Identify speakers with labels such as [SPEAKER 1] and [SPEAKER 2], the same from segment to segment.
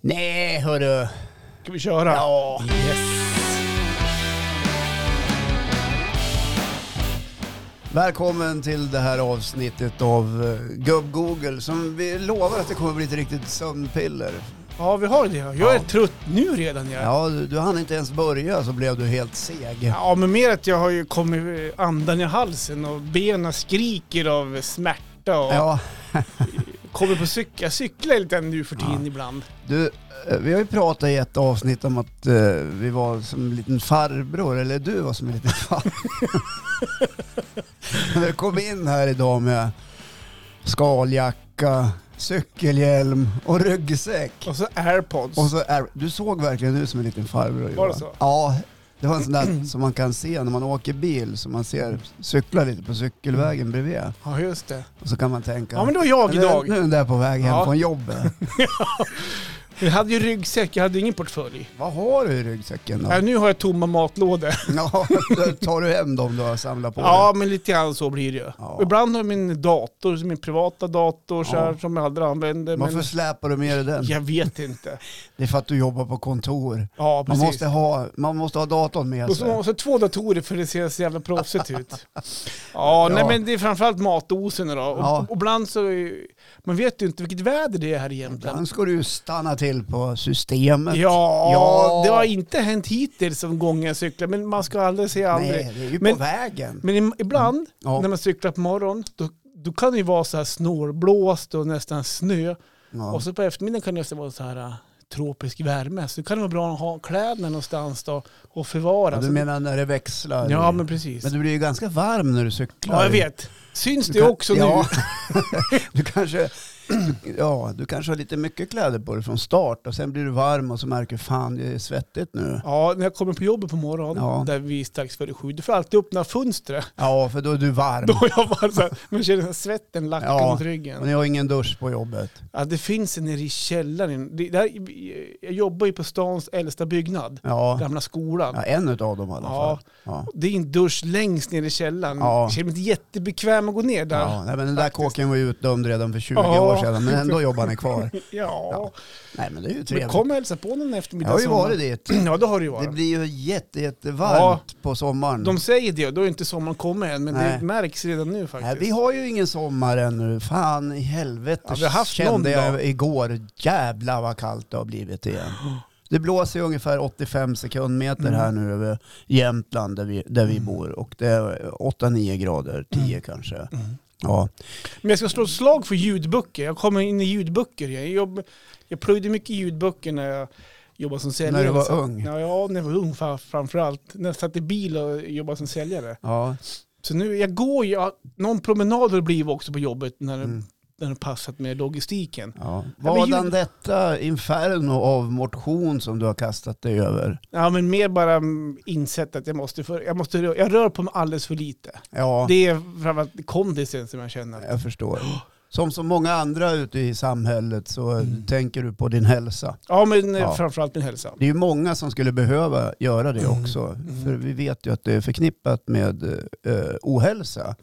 [SPEAKER 1] Nej, hörru.
[SPEAKER 2] Ska vi köra?
[SPEAKER 1] Ja.
[SPEAKER 2] Yes.
[SPEAKER 1] Välkommen till det här avsnittet av eh, Gubb-Google som vi lovar att det kommer bli ett riktigt sömnpiller.
[SPEAKER 2] Ja, vi har det. Jag
[SPEAKER 1] Ja.
[SPEAKER 2] är trött nu redan. Jag. Ja.
[SPEAKER 1] Ja, du, du hann inte ens börja så blev du helt seg.
[SPEAKER 2] ja, men mer att jag har ju kommit eh, andan i halsen och benen skriker av smärta och
[SPEAKER 1] Ja,
[SPEAKER 2] kommer på cykel. Jag cyklar lite nu för tiden ibland.
[SPEAKER 1] du, eh, vi har ju pratat i ett avsnitt om att eh, vi var som en liten farbror, eller du var som en liten farbror. När du kom in här idag med skaljacka, cykelhjälm och ryggsäck.
[SPEAKER 2] Och så airpods.
[SPEAKER 1] Och så är, du såg verkligen ut som en liten farbror.
[SPEAKER 2] Var det
[SPEAKER 1] Johan.
[SPEAKER 2] så?
[SPEAKER 1] Ja. Det var en sån där som man kan se när man åker bil, som man ser cykla lite på cykelvägen bredvid.
[SPEAKER 2] Ja, just det.
[SPEAKER 1] Och så kan man tänka,
[SPEAKER 2] Ja, men det var jag
[SPEAKER 1] nu,
[SPEAKER 2] idag.
[SPEAKER 1] nu är den där på väg hem
[SPEAKER 2] Ja.
[SPEAKER 1] från jobbet.
[SPEAKER 2] Jag hade ju ryggsäck, jag hade ingen portfölj.
[SPEAKER 1] Vad har du i ryggsäcken då?
[SPEAKER 2] Äh, nu har jag tomma matlådor.
[SPEAKER 1] Ja, då tar du hem dem du har samlat på
[SPEAKER 2] Ja,
[SPEAKER 1] dig?
[SPEAKER 2] men lite grann så blir det ju.
[SPEAKER 1] Ja.
[SPEAKER 2] Och Ibland har jag min dator, min privata dator så
[SPEAKER 1] Ja.
[SPEAKER 2] här, som jag aldrig använder.
[SPEAKER 1] Varför släpar du med dig den?
[SPEAKER 2] Men jag vet inte.
[SPEAKER 1] Det är för att du jobbar på kontor.
[SPEAKER 2] Ja,
[SPEAKER 1] Man
[SPEAKER 2] precis.
[SPEAKER 1] måste, ha, man måste ha datorn med
[SPEAKER 2] Och så
[SPEAKER 1] sig.
[SPEAKER 2] måste två datorer för det ser så jävla proffsigt ut. Ja, nej
[SPEAKER 1] Ja.
[SPEAKER 2] men det är framförallt matdoserna då. Och,
[SPEAKER 1] Ja.
[SPEAKER 2] och ibland så, är- man vet ju inte vilket väder det är här i Jämtland.
[SPEAKER 1] Ibland ska du ju stanna till på systemet.
[SPEAKER 2] Ja,
[SPEAKER 1] Ja.
[SPEAKER 2] det har inte hänt hittills som gången jag cyklar, men man ska aldrig säga aldrig.
[SPEAKER 1] Nej, det är ju
[SPEAKER 2] Men-
[SPEAKER 1] på vägen.
[SPEAKER 2] Men i- ibland
[SPEAKER 1] Ja.
[SPEAKER 2] när man cyklar på morgonen, då, då kan det ju vara så här snårblåst och nästan snö.
[SPEAKER 1] Ja.
[SPEAKER 2] Och så på eftermiddagen kan det nästan vara så här äh, tropisk värme. Så det kan vara bra att ha kläderna någonstans då och förvara.
[SPEAKER 1] Ja,
[SPEAKER 2] Så-
[SPEAKER 1] Du menar när det växlar?
[SPEAKER 2] ja, men precis.
[SPEAKER 1] Men du blir ju ganska varm när du cyklar.
[SPEAKER 2] Ja, jag vet. Syns
[SPEAKER 1] Du
[SPEAKER 2] det
[SPEAKER 1] kan-
[SPEAKER 2] också
[SPEAKER 1] ja.
[SPEAKER 2] nu?
[SPEAKER 1] Du kanske, ja, du kanske har lite mycket kläder på dig från start och sen blir du varm och så märker du fan det är svettigt nu.
[SPEAKER 2] Ja, när jag kommer på jobbet på morgonen,
[SPEAKER 1] Ja. Mm.
[SPEAKER 2] där vi är strax före sju, du får alltid öppna fönstret.
[SPEAKER 1] Ja, för då är du varm.
[SPEAKER 2] Då har jag bara så här, man känner så här svetten lacka
[SPEAKER 1] Ja. Mm.
[SPEAKER 2] mot
[SPEAKER 1] Och
[SPEAKER 2] ryggen.
[SPEAKER 1] ni har ingen dusch på jobbet.
[SPEAKER 2] Ja, det finns en nere i källaren. Det, där, jag jobbar ju på stans äldsta byggnad,
[SPEAKER 1] Ja,
[SPEAKER 2] gamla skolan.
[SPEAKER 1] ja en utav dem i alla
[SPEAKER 2] Ja.
[SPEAKER 1] fall. Ja.
[SPEAKER 2] Det är en dusch längst ner i källaren.
[SPEAKER 1] Ja.
[SPEAKER 2] Jag känner mig inte jättebekväm att gå ner där.
[SPEAKER 1] Ja, nej, men den där
[SPEAKER 2] Faktiskt.
[SPEAKER 1] kåken var ju utdömd redan för 20
[SPEAKER 2] Ja.
[SPEAKER 1] år sedan, men ändå jobbar ni kvar.
[SPEAKER 2] Ja,
[SPEAKER 1] Ja, Nej, men det är ju
[SPEAKER 2] men
[SPEAKER 1] trevligt.
[SPEAKER 2] kom och hälsa på någon
[SPEAKER 1] Jag
[SPEAKER 2] eftermiddag.
[SPEAKER 1] har ju
[SPEAKER 2] sommar.
[SPEAKER 1] varit dit.
[SPEAKER 2] Ja, det har du ju
[SPEAKER 1] Det
[SPEAKER 2] varit.
[SPEAKER 1] blir ju jätte, jättevarmt på sommaren.
[SPEAKER 2] De säger det, och då är inte sommaren kommit än, men
[SPEAKER 1] Nej.
[SPEAKER 2] det märks redan nu faktiskt.
[SPEAKER 1] Nej, vi har ju ingen sommar ännu. Fan i helvete
[SPEAKER 2] Ja, vi har haft
[SPEAKER 1] kände
[SPEAKER 2] någon
[SPEAKER 1] jag
[SPEAKER 2] dag.
[SPEAKER 1] igår. Jävlar vad kallt det har blivit igen. Det blåser ju ungefär 85 sekundmeter här
[SPEAKER 2] Mm.
[SPEAKER 1] nu över Jämtland där vi, där vi bor och det är 8-9 grader, 10
[SPEAKER 2] Mm.
[SPEAKER 1] kanske. Ja.
[SPEAKER 2] Men jag ska slå ett slag för ljudböcker. Jag kommer in i ljudböcker. Jag, jobb, jag plöjde mycket ljudböcker när jag jobbade som säljare.
[SPEAKER 1] När du var
[SPEAKER 2] Så-
[SPEAKER 1] ung.
[SPEAKER 2] Ja, ja, när jag var ung fa- framförallt. När jag satt i bil och jobbade som säljare.
[SPEAKER 1] Ja.
[SPEAKER 2] Så nu, jag går ju, jag- någon promenad har det blivit också på jobbet när det,
[SPEAKER 1] Mm.
[SPEAKER 2] när det passat med logistiken.
[SPEAKER 1] Ja.
[SPEAKER 2] men ljud-
[SPEAKER 1] Vadan detta inferno av motion som du har kastat dig över?
[SPEAKER 2] Ja, men mer bara mm, insett att jag måste, för, jag måste, rö- jag rör på mig alldeles för lite.
[SPEAKER 1] Ja,
[SPEAKER 2] Det är framförallt kondisen som jag känner.
[SPEAKER 1] jag förstår. Som så många andra ute i samhället så
[SPEAKER 2] Mm.
[SPEAKER 1] tänker du på din hälsa.
[SPEAKER 2] Ja, men eh,
[SPEAKER 1] Ja.
[SPEAKER 2] framförallt min hälsa.
[SPEAKER 1] Det är ju många som skulle behöva göra det också.
[SPEAKER 2] Mm.
[SPEAKER 1] För vi vet ju att det är förknippat med eh, ohälsa.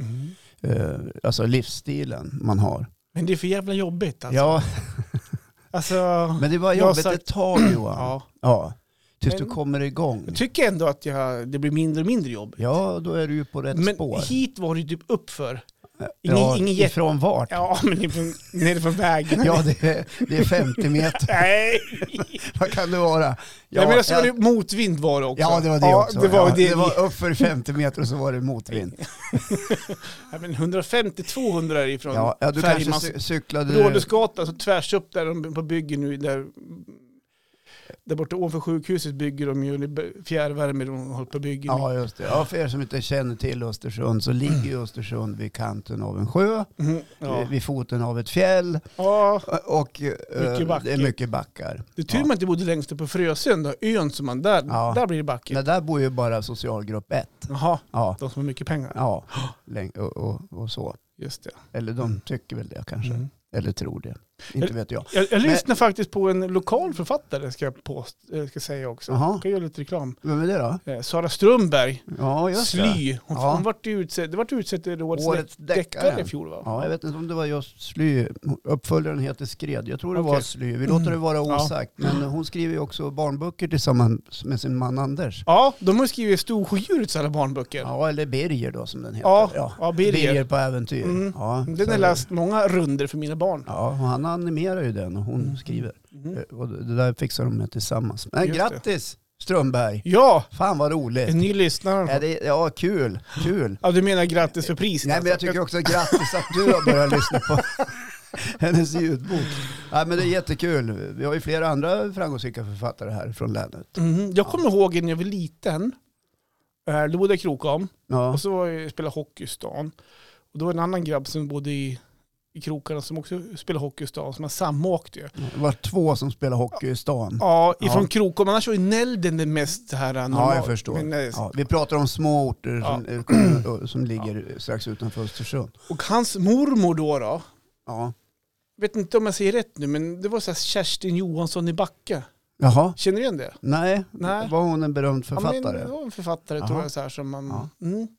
[SPEAKER 1] Eh, alltså livsstilen man har.
[SPEAKER 2] Mm. Men det är för jävla jobbigt alltså.
[SPEAKER 1] Ja,
[SPEAKER 2] alltså
[SPEAKER 1] men det var
[SPEAKER 2] Jag har
[SPEAKER 1] jobbigt
[SPEAKER 2] sagt-
[SPEAKER 1] ett tag Johan. ja.
[SPEAKER 2] ja.
[SPEAKER 1] Tills
[SPEAKER 2] Men-
[SPEAKER 1] du kommer igång.
[SPEAKER 2] Jag tycker ändå att jag, det blir mindre och mindre jobb.
[SPEAKER 1] Ja, då är du ju på rätt
[SPEAKER 2] men
[SPEAKER 1] spår.
[SPEAKER 2] hit var det ju typ uppför. ingen-
[SPEAKER 1] ja,
[SPEAKER 2] ingen jätte-
[SPEAKER 1] ifrån vart? Ja,
[SPEAKER 2] Ja, men ifrån- nere från vägen.
[SPEAKER 1] det, är, det är 50 meter.
[SPEAKER 2] Nej!
[SPEAKER 1] Vad kan det vara? Ja,
[SPEAKER 2] Nej, men jag såg
[SPEAKER 1] ja.
[SPEAKER 2] det motvind var det också.
[SPEAKER 1] Ja, det var det också.
[SPEAKER 2] Det var
[SPEAKER 1] ja,
[SPEAKER 2] det.
[SPEAKER 1] det var uppför 50 meter och så var det motvind.
[SPEAKER 2] Ja, men 150-200 är ifrån
[SPEAKER 1] Ja, ja, du kanske
[SPEAKER 2] Färjmans...
[SPEAKER 1] cy- cyklade...
[SPEAKER 2] Rådhusgatan, så tvärs upp där de på bygger nu, där, där borta ovanför sjukhuset bygger de ju fjärrvärme, de håller på och bygger nu.
[SPEAKER 1] Ja, just det. Ja, för er som inte känner till Östersund så ligger ju Östersund vid kanten av en sjö,
[SPEAKER 2] Mhm, ja.
[SPEAKER 1] eh, vid foten av ett fjäll
[SPEAKER 2] ja.
[SPEAKER 1] och eh,
[SPEAKER 2] Mycket backar.
[SPEAKER 1] det är mycket backar.
[SPEAKER 2] Det är tur man inte bodde längst upp på Frösön, då, ön som man där,
[SPEAKER 1] Ja.
[SPEAKER 2] där blir det backigt.
[SPEAKER 1] Men där bor ju bara socialgrupp 1.
[SPEAKER 2] Jaha,
[SPEAKER 1] Ja,
[SPEAKER 2] de som har mycket pengar.
[SPEAKER 1] ja läng- och, och, och så.
[SPEAKER 2] Just det.
[SPEAKER 1] Mm. Eller de tycker väl det kanske,
[SPEAKER 2] Mm.
[SPEAKER 1] eller tror det. Inte vet jag.
[SPEAKER 2] Jag, jag
[SPEAKER 1] Men-
[SPEAKER 2] lyssnar faktiskt på en lokal författare, ska jag, påst, eh, ska säga också.
[SPEAKER 1] Jaha.
[SPEAKER 2] Jag kan göra lite reklam.
[SPEAKER 1] Vem är det då?
[SPEAKER 2] Eh, Sara Strömberg,
[SPEAKER 1] Ja, just det.
[SPEAKER 2] Sly. Hon,
[SPEAKER 1] Ja.
[SPEAKER 2] hon vart ju utsedd, det vart ju utsedd till årets,
[SPEAKER 1] Årets
[SPEAKER 2] deck- deckare.
[SPEAKER 1] deckare.
[SPEAKER 2] i fjol va?
[SPEAKER 1] Ja, jag vet inte om det var just Sly. Uppföljaren heter Skred. Jag tror det var
[SPEAKER 2] Okej. Mm.
[SPEAKER 1] Sly. Vi låter det vara
[SPEAKER 2] Ja.
[SPEAKER 1] osagt. Men hon skriver ju också barnböcker tillsammans med sin man Anders.
[SPEAKER 2] Ja, de har ju skrivit Storsjödjurets alla barnböcker.
[SPEAKER 1] Ja, eller Birger då som den heter.
[SPEAKER 2] Ja, ja, Birger.
[SPEAKER 1] på äventyr.
[SPEAKER 2] Mm.
[SPEAKER 1] Ja,
[SPEAKER 2] Den
[SPEAKER 1] så-
[SPEAKER 2] har läst många runder för mina barn.
[SPEAKER 1] Ja, och han animerar ju den och hon skriver.
[SPEAKER 2] Mhm.
[SPEAKER 1] Eh, Och det där fixar de med tillsammans. Men
[SPEAKER 2] Just det.
[SPEAKER 1] grattis Strömberg!
[SPEAKER 2] Ja,
[SPEAKER 1] Fan vad roligt!
[SPEAKER 2] en ny lyssnare.
[SPEAKER 1] Ja, det, ja kul, kul!
[SPEAKER 2] Ja, du menar grattis för priset?
[SPEAKER 1] Nej men jag
[SPEAKER 2] alltså.
[SPEAKER 1] tycker också grattis att du har börjat lyssna på hennes ljudbok. Ja, men det är jättekul. Vi har ju flera andra framgångsrika författare här från länet.
[SPEAKER 2] Mhm. Jag kommer ihåg när jag var liten. Eh, Då bodde jag i Krokom
[SPEAKER 1] Ja,
[SPEAKER 2] och så var jag, spelade jag hockey i stan. Och då var det en annan grabb som bodde i, i krokarna som också spelade hockey i stan, som man samåkte ju.
[SPEAKER 1] det var två som spelar hockey i stan.
[SPEAKER 2] Ja, ifrån
[SPEAKER 1] Ja.
[SPEAKER 2] Krokom, annars var ju Nälden det mest så här normalt.
[SPEAKER 1] jag förstår.
[SPEAKER 2] Men, eh,
[SPEAKER 1] Ja, vi pratar om små orter som, eh, kommuner- som ligger strax utanför Östersund.
[SPEAKER 2] Och hans mormor då, då
[SPEAKER 1] Ja.
[SPEAKER 2] vet inte om jag säger rätt nu, men det var så här Kerstin Johansson i Backe.
[SPEAKER 1] Jaha,
[SPEAKER 2] Känner du igen det?
[SPEAKER 1] nej.
[SPEAKER 2] Nej.
[SPEAKER 1] Var hon en berömd
[SPEAKER 2] Ja,
[SPEAKER 1] författare?
[SPEAKER 2] men det var en författare tror
[SPEAKER 1] Jaha.
[SPEAKER 2] jag. Så här, som man,
[SPEAKER 1] Ja.
[SPEAKER 2] mm, det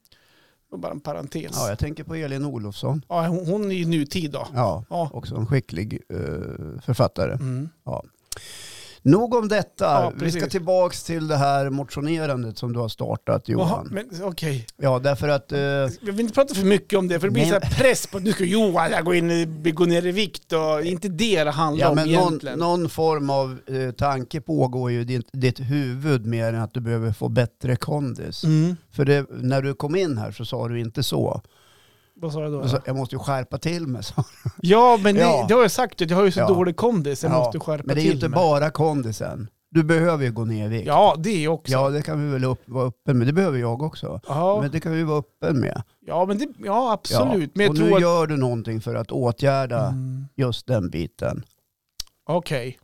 [SPEAKER 2] var bara en parentes.
[SPEAKER 1] Ja,
[SPEAKER 2] Ja,
[SPEAKER 1] jag tänker på Elin Olofsson.
[SPEAKER 2] hon, hon är ju nutid då.
[SPEAKER 1] Ja,
[SPEAKER 2] Ja.
[SPEAKER 1] också en skicklig eh, författare.
[SPEAKER 2] Mm.
[SPEAKER 1] Nog om detta.
[SPEAKER 2] Ja,
[SPEAKER 1] Vi ska
[SPEAKER 2] precis.
[SPEAKER 1] tillbaks till det här motionerandet som du har startat Johan.
[SPEAKER 2] Jaha, men okej.
[SPEAKER 1] Ja, därför att... eh,
[SPEAKER 2] Jag vill inte prata för mycket om det, för det blir
[SPEAKER 1] Nej.
[SPEAKER 2] så här press på att nu ska Johan jag gå, in, i- gå ner i vikt och inte det det handlar
[SPEAKER 1] ja,
[SPEAKER 2] om
[SPEAKER 1] men någon,
[SPEAKER 2] egentligen.
[SPEAKER 1] någon form av eh, tanke pågår ju i ditt, ditt huvud mer än att du behöver få bättre kondis.
[SPEAKER 2] Mm.
[SPEAKER 1] För det, när du kom in här så sa du inte så.
[SPEAKER 2] Vad sa jag då?
[SPEAKER 1] Du sa, jag måste ju skärpa till mig. sa du.
[SPEAKER 2] Ja, men det,
[SPEAKER 1] Alltså, Ja.
[SPEAKER 2] det har jag sagt. Jag har ju så
[SPEAKER 1] Ja.
[SPEAKER 2] dålig kondis, jag
[SPEAKER 1] Ja,
[SPEAKER 2] måste skärpa
[SPEAKER 1] Men det är
[SPEAKER 2] till
[SPEAKER 1] ju inte
[SPEAKER 2] mig.
[SPEAKER 1] bara kondisen. Du behöver ju gå ner i vikt.
[SPEAKER 2] Ja, det också. Ja,
[SPEAKER 1] Ja, det kan vi väl upp, vara öppen med. Det behöver jag också. Men det kan vi vara öppen med.
[SPEAKER 2] ja, men det, ja absolut.
[SPEAKER 1] Ja.
[SPEAKER 2] Men jag
[SPEAKER 1] och
[SPEAKER 2] tror
[SPEAKER 1] nu
[SPEAKER 2] att...
[SPEAKER 1] gör du någonting för att åtgärda
[SPEAKER 2] Mm.
[SPEAKER 1] just den biten.
[SPEAKER 2] Okej.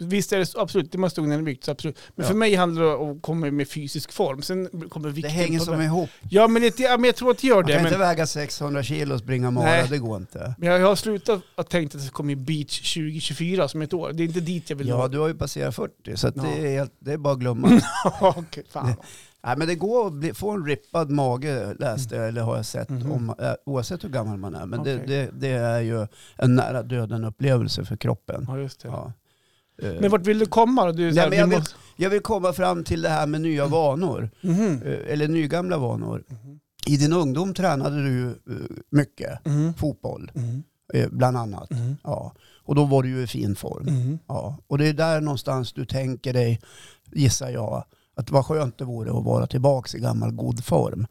[SPEAKER 2] Visst är det så, absolut, det måste gå ner i vikt. så Absolut. Men
[SPEAKER 1] Ja.
[SPEAKER 2] för mig handlar det om att komma med fysisk form. Sen kommer
[SPEAKER 1] Det
[SPEAKER 2] vikten
[SPEAKER 1] hänger
[SPEAKER 2] på
[SPEAKER 1] som
[SPEAKER 2] det.
[SPEAKER 1] ihop.
[SPEAKER 2] Ja, men, det, ja, men jag tror att det gör
[SPEAKER 1] Man
[SPEAKER 2] det.
[SPEAKER 1] kan
[SPEAKER 2] men-
[SPEAKER 1] inte väga 600 kilo och springa mara,
[SPEAKER 2] Nej.
[SPEAKER 1] det går inte.
[SPEAKER 2] Men jag har slutat att tänka att det kommer beach 2024 som ett år. Det är inte dit jag vill
[SPEAKER 1] Ja,
[SPEAKER 2] nå.
[SPEAKER 1] du har ju passerat 40 så att
[SPEAKER 2] Ja. Mm.
[SPEAKER 1] det, är helt, det är bara att glömma.
[SPEAKER 2] Okej, fan.
[SPEAKER 1] Nej, men det går att bli, få en rippad mage läste jag eller har jag sett,
[SPEAKER 2] Mhm.
[SPEAKER 1] om, eh, oavsett hur gammal man är. Men det,
[SPEAKER 2] Okej.
[SPEAKER 1] det, det är ju en nära döden upplevelse för kroppen.
[SPEAKER 2] Ja, just det.
[SPEAKER 1] Ja. Eh,
[SPEAKER 2] Men vart vill du komma då? Du, är så
[SPEAKER 1] Nej,
[SPEAKER 2] här,
[SPEAKER 1] men jag
[SPEAKER 2] vi
[SPEAKER 1] vill-
[SPEAKER 2] måste-
[SPEAKER 1] Jag vill komma fram till det här med nya
[SPEAKER 2] Mm.
[SPEAKER 1] vanor,
[SPEAKER 2] Mhm.
[SPEAKER 1] eh, eller nygamla vanor.
[SPEAKER 2] Mhm.
[SPEAKER 1] I din ungdom tränade du eh, mycket,
[SPEAKER 2] Mhm.
[SPEAKER 1] fotboll
[SPEAKER 2] Mhm.
[SPEAKER 1] eh, bland annat.
[SPEAKER 2] Mhm.
[SPEAKER 1] Ja. Och då var du ju i fin form.
[SPEAKER 2] Mhm.
[SPEAKER 1] Ja, och det är där någonstans du tänker dig, gissar jag, att vad skönt det vore att vara tillbaka i gammal god form.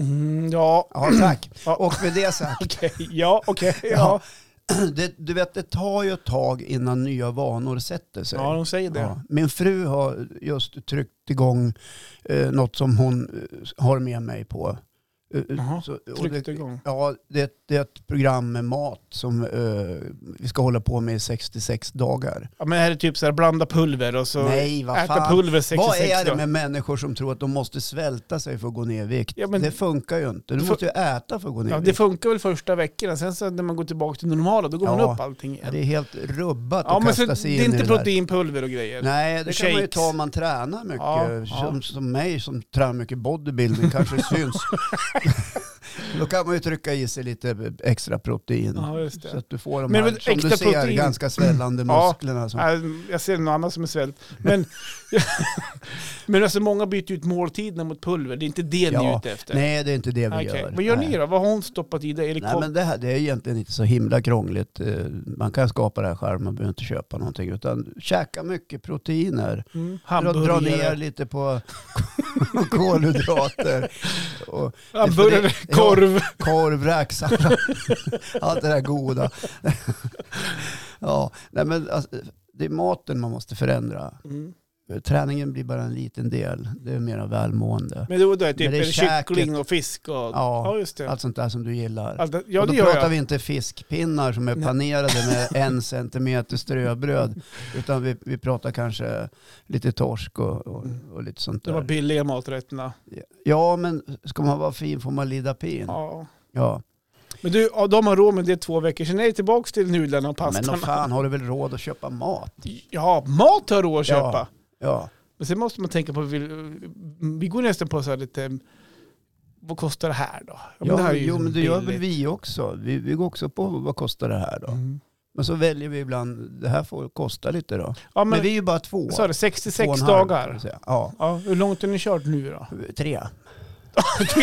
[SPEAKER 2] Mhm. Ja,
[SPEAKER 1] Ja, tack.
[SPEAKER 2] Ja.
[SPEAKER 1] Och med det sagt,
[SPEAKER 2] okej. Ja, okej.
[SPEAKER 1] Ja.
[SPEAKER 2] Ja.
[SPEAKER 1] det, du vet det tar ju ett tag innan nya vanor sätter sig.
[SPEAKER 2] ja, de säger det.
[SPEAKER 1] Ja. Min fru har just tryckt igång eh, något som hon eh, har med mig på. Eh,
[SPEAKER 2] Jaha,
[SPEAKER 1] så- och
[SPEAKER 2] Tryckte
[SPEAKER 1] det,
[SPEAKER 2] igång.
[SPEAKER 1] Ja, det, är ett- det är ett program med mat som eh, vi ska hålla på med i 66 dagar.
[SPEAKER 2] Ja, men är det typ så här blanda pulver och så
[SPEAKER 1] Nej, vad
[SPEAKER 2] äta
[SPEAKER 1] fan.
[SPEAKER 2] pulver
[SPEAKER 1] Vad
[SPEAKER 2] 66
[SPEAKER 1] är det
[SPEAKER 2] då?
[SPEAKER 1] med människor som tror att de måste svälta sig för att gå ner i vikt?
[SPEAKER 2] Ja, men-
[SPEAKER 1] det funkar ju inte. Du
[SPEAKER 2] Det
[SPEAKER 1] måste ju äta för att gå ner
[SPEAKER 2] Ja,
[SPEAKER 1] i
[SPEAKER 2] det
[SPEAKER 1] vikt.
[SPEAKER 2] funkar väl första veckorna, sen så när man går tillbaka till normala då går
[SPEAKER 1] Ja.
[SPEAKER 2] man upp allting
[SPEAKER 1] Ja,
[SPEAKER 2] igen.
[SPEAKER 1] det är helt rubbat
[SPEAKER 2] Ja,
[SPEAKER 1] att
[SPEAKER 2] men så,
[SPEAKER 1] kasta
[SPEAKER 2] det
[SPEAKER 1] sig in
[SPEAKER 2] är
[SPEAKER 1] i
[SPEAKER 2] inte
[SPEAKER 1] det där.
[SPEAKER 2] proteinpulver och grejer.
[SPEAKER 1] Nej, det kan man ju
[SPEAKER 2] Shakes.
[SPEAKER 1] ta om man tränar mycket.
[SPEAKER 2] Ja,
[SPEAKER 1] som,
[SPEAKER 2] ja.
[SPEAKER 1] som mig som tränar mycket bodybuilding kanske syns. Då kan man ju trycka i sig lite extra protein.
[SPEAKER 2] Ja, just det.
[SPEAKER 1] så att du får de
[SPEAKER 2] Men
[SPEAKER 1] här,
[SPEAKER 2] vad-
[SPEAKER 1] som du
[SPEAKER 2] extra
[SPEAKER 1] ser,
[SPEAKER 2] protein.
[SPEAKER 1] ganska svällande
[SPEAKER 2] Ja.
[SPEAKER 1] musklerna. Som,
[SPEAKER 2] Nej, Jag ser något annat som är svält. Men, men alltså många byter ut måltiderna mot pulver. Det är inte det ni
[SPEAKER 1] Ja,
[SPEAKER 2] är ute efter.
[SPEAKER 1] nej, det är inte det vi
[SPEAKER 2] Okej.
[SPEAKER 1] gör.
[SPEAKER 2] Vad gör
[SPEAKER 1] Nej.
[SPEAKER 2] ni då? Vad har hon stoppat i dig? Är det
[SPEAKER 1] Nej,
[SPEAKER 2] Nej,
[SPEAKER 1] men det, här, det är egentligen inte så himla krångligt. Eh, Man kan skapa det här själv, man behöver inte köpa någonting. Utan käka mycket proteiner.
[SPEAKER 2] mm.
[SPEAKER 1] Dra, dra ner
[SPEAKER 2] Hamburgare,
[SPEAKER 1] lite på kolhydrater. Och för
[SPEAKER 2] hamburgare
[SPEAKER 1] det- Mm.
[SPEAKER 2] korv.
[SPEAKER 1] korv, räksallad. Allt det där goda. ja, nej, men alltså, det är maten man måste förändra.
[SPEAKER 2] Mm.
[SPEAKER 1] Träningen blir bara en liten del. Det är mera välmående.
[SPEAKER 2] Men då är det typ
[SPEAKER 1] Men det är
[SPEAKER 2] en
[SPEAKER 1] käket.
[SPEAKER 2] kyckling och fisk och...
[SPEAKER 1] Ja,
[SPEAKER 2] Ja, just det.
[SPEAKER 1] Allt sånt där som du gillar.
[SPEAKER 2] Allt det- ja,
[SPEAKER 1] och
[SPEAKER 2] det
[SPEAKER 1] då
[SPEAKER 2] gör
[SPEAKER 1] pratar
[SPEAKER 2] jag.
[SPEAKER 1] vi inte fiskpinnar som är
[SPEAKER 2] Nej.
[SPEAKER 1] panerade med en centimeter ströbröd. Utan vi, vi pratar kanske lite torsk och, och, och lite sånt
[SPEAKER 2] Mm. Det var
[SPEAKER 1] där.
[SPEAKER 2] billiga
[SPEAKER 1] Mm.
[SPEAKER 2] maträtterna.
[SPEAKER 1] Ja men ska man vara fin får man lida pin. Ja.
[SPEAKER 2] Ja. Men du, ja, de har råd med det två veckor, sen är det tillbaka till nudlarna och
[SPEAKER 1] Men vad
[SPEAKER 2] pastan.
[SPEAKER 1] fan har du väl råd att köpa mat?
[SPEAKER 2] Ja, mat har råd att
[SPEAKER 1] Ja.
[SPEAKER 2] köpa.
[SPEAKER 1] Ja,
[SPEAKER 2] Men sen måste man tänka på, vi, vi går nästan på så här lite, vad kostar det här då? Ja,
[SPEAKER 1] ja
[SPEAKER 2] det här är ju
[SPEAKER 1] jo, men det gör väl
[SPEAKER 2] billigt.
[SPEAKER 1] vi också. Vi, vi går också på vad kostar det här då.
[SPEAKER 2] Mm.
[SPEAKER 1] Men så väljer vi ibland, det här får kosta lite då.
[SPEAKER 2] Ja,
[SPEAKER 1] Men,
[SPEAKER 2] men,
[SPEAKER 1] vi är ju bara två.
[SPEAKER 2] så
[SPEAKER 1] Två
[SPEAKER 2] är det
[SPEAKER 1] och
[SPEAKER 2] 66
[SPEAKER 1] en halv, kan
[SPEAKER 2] dagar.
[SPEAKER 1] man säga. Ja,
[SPEAKER 2] Ja, hur långt har ni kört nu då?
[SPEAKER 1] tre.
[SPEAKER 2] Tre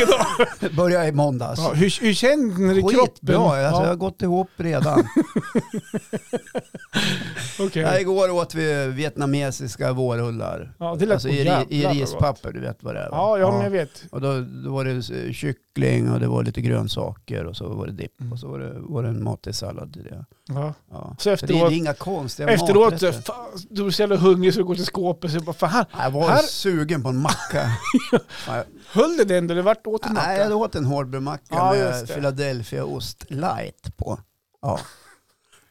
[SPEAKER 2] dagar.
[SPEAKER 1] Börja i måndags.
[SPEAKER 2] Ja, hur, hur känner du kroppen?
[SPEAKER 1] Skitbra, alltså, jag har
[SPEAKER 2] ja,
[SPEAKER 1] gått ihop redan.
[SPEAKER 2] okej.
[SPEAKER 1] ja, igår åt vi vietnamesiska vårrullar.
[SPEAKER 2] ja, det lät
[SPEAKER 1] Alltså
[SPEAKER 2] på
[SPEAKER 1] i, ri-
[SPEAKER 2] jävlar
[SPEAKER 1] i
[SPEAKER 2] vad gott.
[SPEAKER 1] rispapper, du vet vad det är va?
[SPEAKER 2] Ja, ja, men jag vet.
[SPEAKER 1] Och då, då var det eh, kyckling och det var lite grönsaker och så var det dipp
[SPEAKER 2] Mm.
[SPEAKER 1] och så var det, var det en matig sallad i det.
[SPEAKER 2] Ja.
[SPEAKER 1] Ja.
[SPEAKER 2] Så
[SPEAKER 1] Så det är
[SPEAKER 2] efteråt,
[SPEAKER 1] ju inga konstiga
[SPEAKER 2] efteråt så,
[SPEAKER 1] maträtter.
[SPEAKER 2] fan, du var så jävla hungrig så du går till skåpet så bara, fan,
[SPEAKER 1] Jag var
[SPEAKER 2] Här-
[SPEAKER 1] sugen på en macka. Ja,
[SPEAKER 2] höll det den då? Det vart åt en
[SPEAKER 1] Nej,
[SPEAKER 2] macka?
[SPEAKER 1] jag åt en hårdbrödmacka
[SPEAKER 2] Ja, just
[SPEAKER 1] med
[SPEAKER 2] det.
[SPEAKER 1] Philadelphiaost light på. Ja.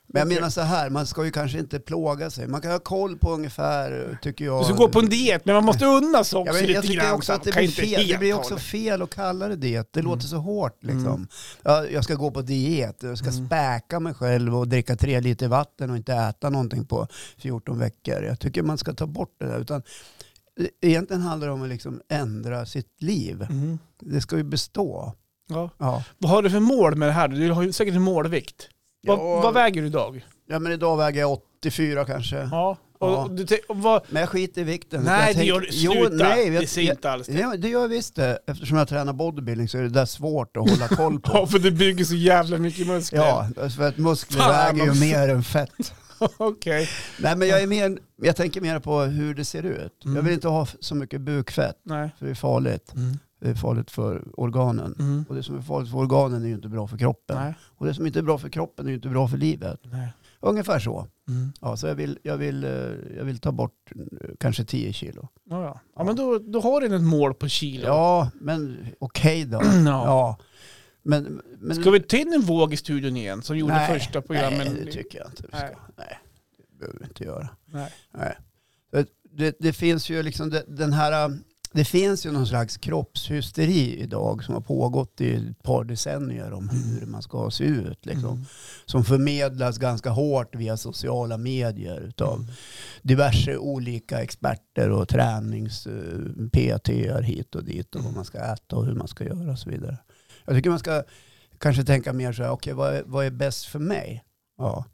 [SPEAKER 1] Men jag
[SPEAKER 2] Okej.
[SPEAKER 1] menar så här, man ska ju kanske inte plåga sig. Man kan ha koll på ungefär, tycker jag.
[SPEAKER 2] Du ska gå på en diet, men man måste unna sig
[SPEAKER 1] Ja,
[SPEAKER 2] också
[SPEAKER 1] men
[SPEAKER 2] lite
[SPEAKER 1] jag tycker
[SPEAKER 2] grann.
[SPEAKER 1] också att
[SPEAKER 2] Man
[SPEAKER 1] det
[SPEAKER 2] kan
[SPEAKER 1] blir,
[SPEAKER 2] inte
[SPEAKER 1] fel, det
[SPEAKER 2] helt
[SPEAKER 1] blir
[SPEAKER 2] ha
[SPEAKER 1] också
[SPEAKER 2] det.
[SPEAKER 1] fel att kalla det det. Det
[SPEAKER 2] Mm.
[SPEAKER 1] låter så hårt liksom.
[SPEAKER 2] Mm.
[SPEAKER 1] Ja, jag ska gå på diet, jag ska
[SPEAKER 2] Mm.
[SPEAKER 1] späka mig själv och dricka tre liter vatten och inte äta någonting på 14 veckor. Jag tycker man ska ta bort det där. Utan e- egentligen handlar det om att liksom ändra sitt liv.
[SPEAKER 2] Mm.
[SPEAKER 1] Det ska ju bestå.
[SPEAKER 2] Ja.
[SPEAKER 1] Ja.
[SPEAKER 2] Vad har du för mål med det här? Du har ju säkert en målvikt. Vad,
[SPEAKER 1] Ja.
[SPEAKER 2] vad väger du idag?
[SPEAKER 1] ja men idag väger jag 84 kanske.
[SPEAKER 2] Ja. Och,
[SPEAKER 1] Ja.
[SPEAKER 2] Du tänk- och vad,
[SPEAKER 1] Men jag skiter i vikten. jag
[SPEAKER 2] nej, det
[SPEAKER 1] tänker-
[SPEAKER 2] gör du.
[SPEAKER 1] Jo,
[SPEAKER 2] Sluta.
[SPEAKER 1] nej, jag,
[SPEAKER 2] det ser
[SPEAKER 1] jag,
[SPEAKER 2] inte alls det.
[SPEAKER 1] Ja, det gör jag visst det. Eftersom jag tränar bodybuilding så är det där svårt att hålla koll på.
[SPEAKER 2] Ja, för det bygger så jävla mycket muskler.
[SPEAKER 1] Ja, för att muskler
[SPEAKER 2] Fan,
[SPEAKER 1] väger ju
[SPEAKER 2] vad-
[SPEAKER 1] mer än fett.
[SPEAKER 2] Okej.
[SPEAKER 1] Nej men jag, är mer, jag tänker mer på hur det ser ut.
[SPEAKER 2] Mm.
[SPEAKER 1] Jag vill inte ha f- så mycket bukfett,
[SPEAKER 2] Nej.
[SPEAKER 1] för det är farligt. Det är farligt för organen.
[SPEAKER 2] Mm.
[SPEAKER 1] Och det som är farligt för organen är ju inte bra för kroppen.
[SPEAKER 2] Nej.
[SPEAKER 1] Och det som inte är bra för kroppen är ju inte bra för livet.
[SPEAKER 2] Nej.
[SPEAKER 1] Ungefär så.
[SPEAKER 2] Mm.
[SPEAKER 1] Ja, så jag vill, jag vill, eh, jag vill ta bort eh, kanske 10 kilo.
[SPEAKER 2] Ja, ja. ja, men då, då har du ett mål på kilo.
[SPEAKER 1] Ja, men okej då.
[SPEAKER 2] Ja.
[SPEAKER 1] Ja. Men, men,
[SPEAKER 2] Ska vi ta in en våg i studion igen som gjorde
[SPEAKER 1] Nej,
[SPEAKER 2] första programmen?
[SPEAKER 1] Nej, det tycker jag inte vi ska.
[SPEAKER 2] Nej.
[SPEAKER 1] Nej, det behöver vi inte göra.
[SPEAKER 2] Nej.
[SPEAKER 1] Nej. Det- Det, det finns ju liksom de- den här... äh, Det finns ju någon slags kroppshysteri idag som har pågått i ett par decennier om hur man ska se ut. Liksom.
[SPEAKER 2] Mm.
[SPEAKER 1] Som förmedlas ganska hårt via sociala medier utav
[SPEAKER 2] Mm.
[SPEAKER 1] diverse olika experter och tränings pt hit och dit och vad man ska äta och hur man ska göra och så vidare. Jag tycker man ska kanske tänka mer så här, okej vad, är- vad är bäst för mig? Ja.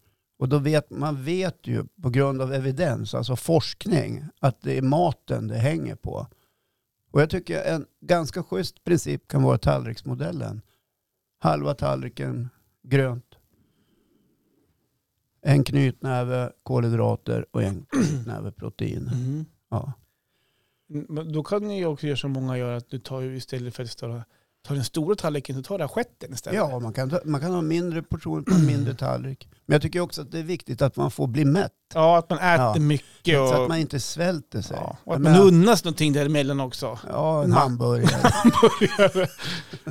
[SPEAKER 1] Och då vet man vet ju på grund av evidens, alltså forskning, att det är maten det hänger på. Och jag tycker en ganska schysst princip kan vara tallriksmodellen. Halva tallriken grönt, en knytnäve kolhydrater och en knytnäve protein.
[SPEAKER 2] Mm.
[SPEAKER 1] Ja.
[SPEAKER 2] Mm, Men då kan ni ju också göra som många gör, att du tar ju istället för att ta, ta den stora tallriken, så tar du assietten istället.
[SPEAKER 1] Ja, man kan, ta- man kan ha mindre portioner på en mindre tallrik. Men jag tycker också att det är viktigt att man får bli mätt.
[SPEAKER 2] ja, att man äter
[SPEAKER 1] Ja.
[SPEAKER 2] mycket och,
[SPEAKER 1] Så att man inte svälter sig.
[SPEAKER 2] ja, och
[SPEAKER 1] Jag
[SPEAKER 2] att man
[SPEAKER 1] menar-
[SPEAKER 2] unnas någonting däremellan också.
[SPEAKER 1] ja en hamburgare.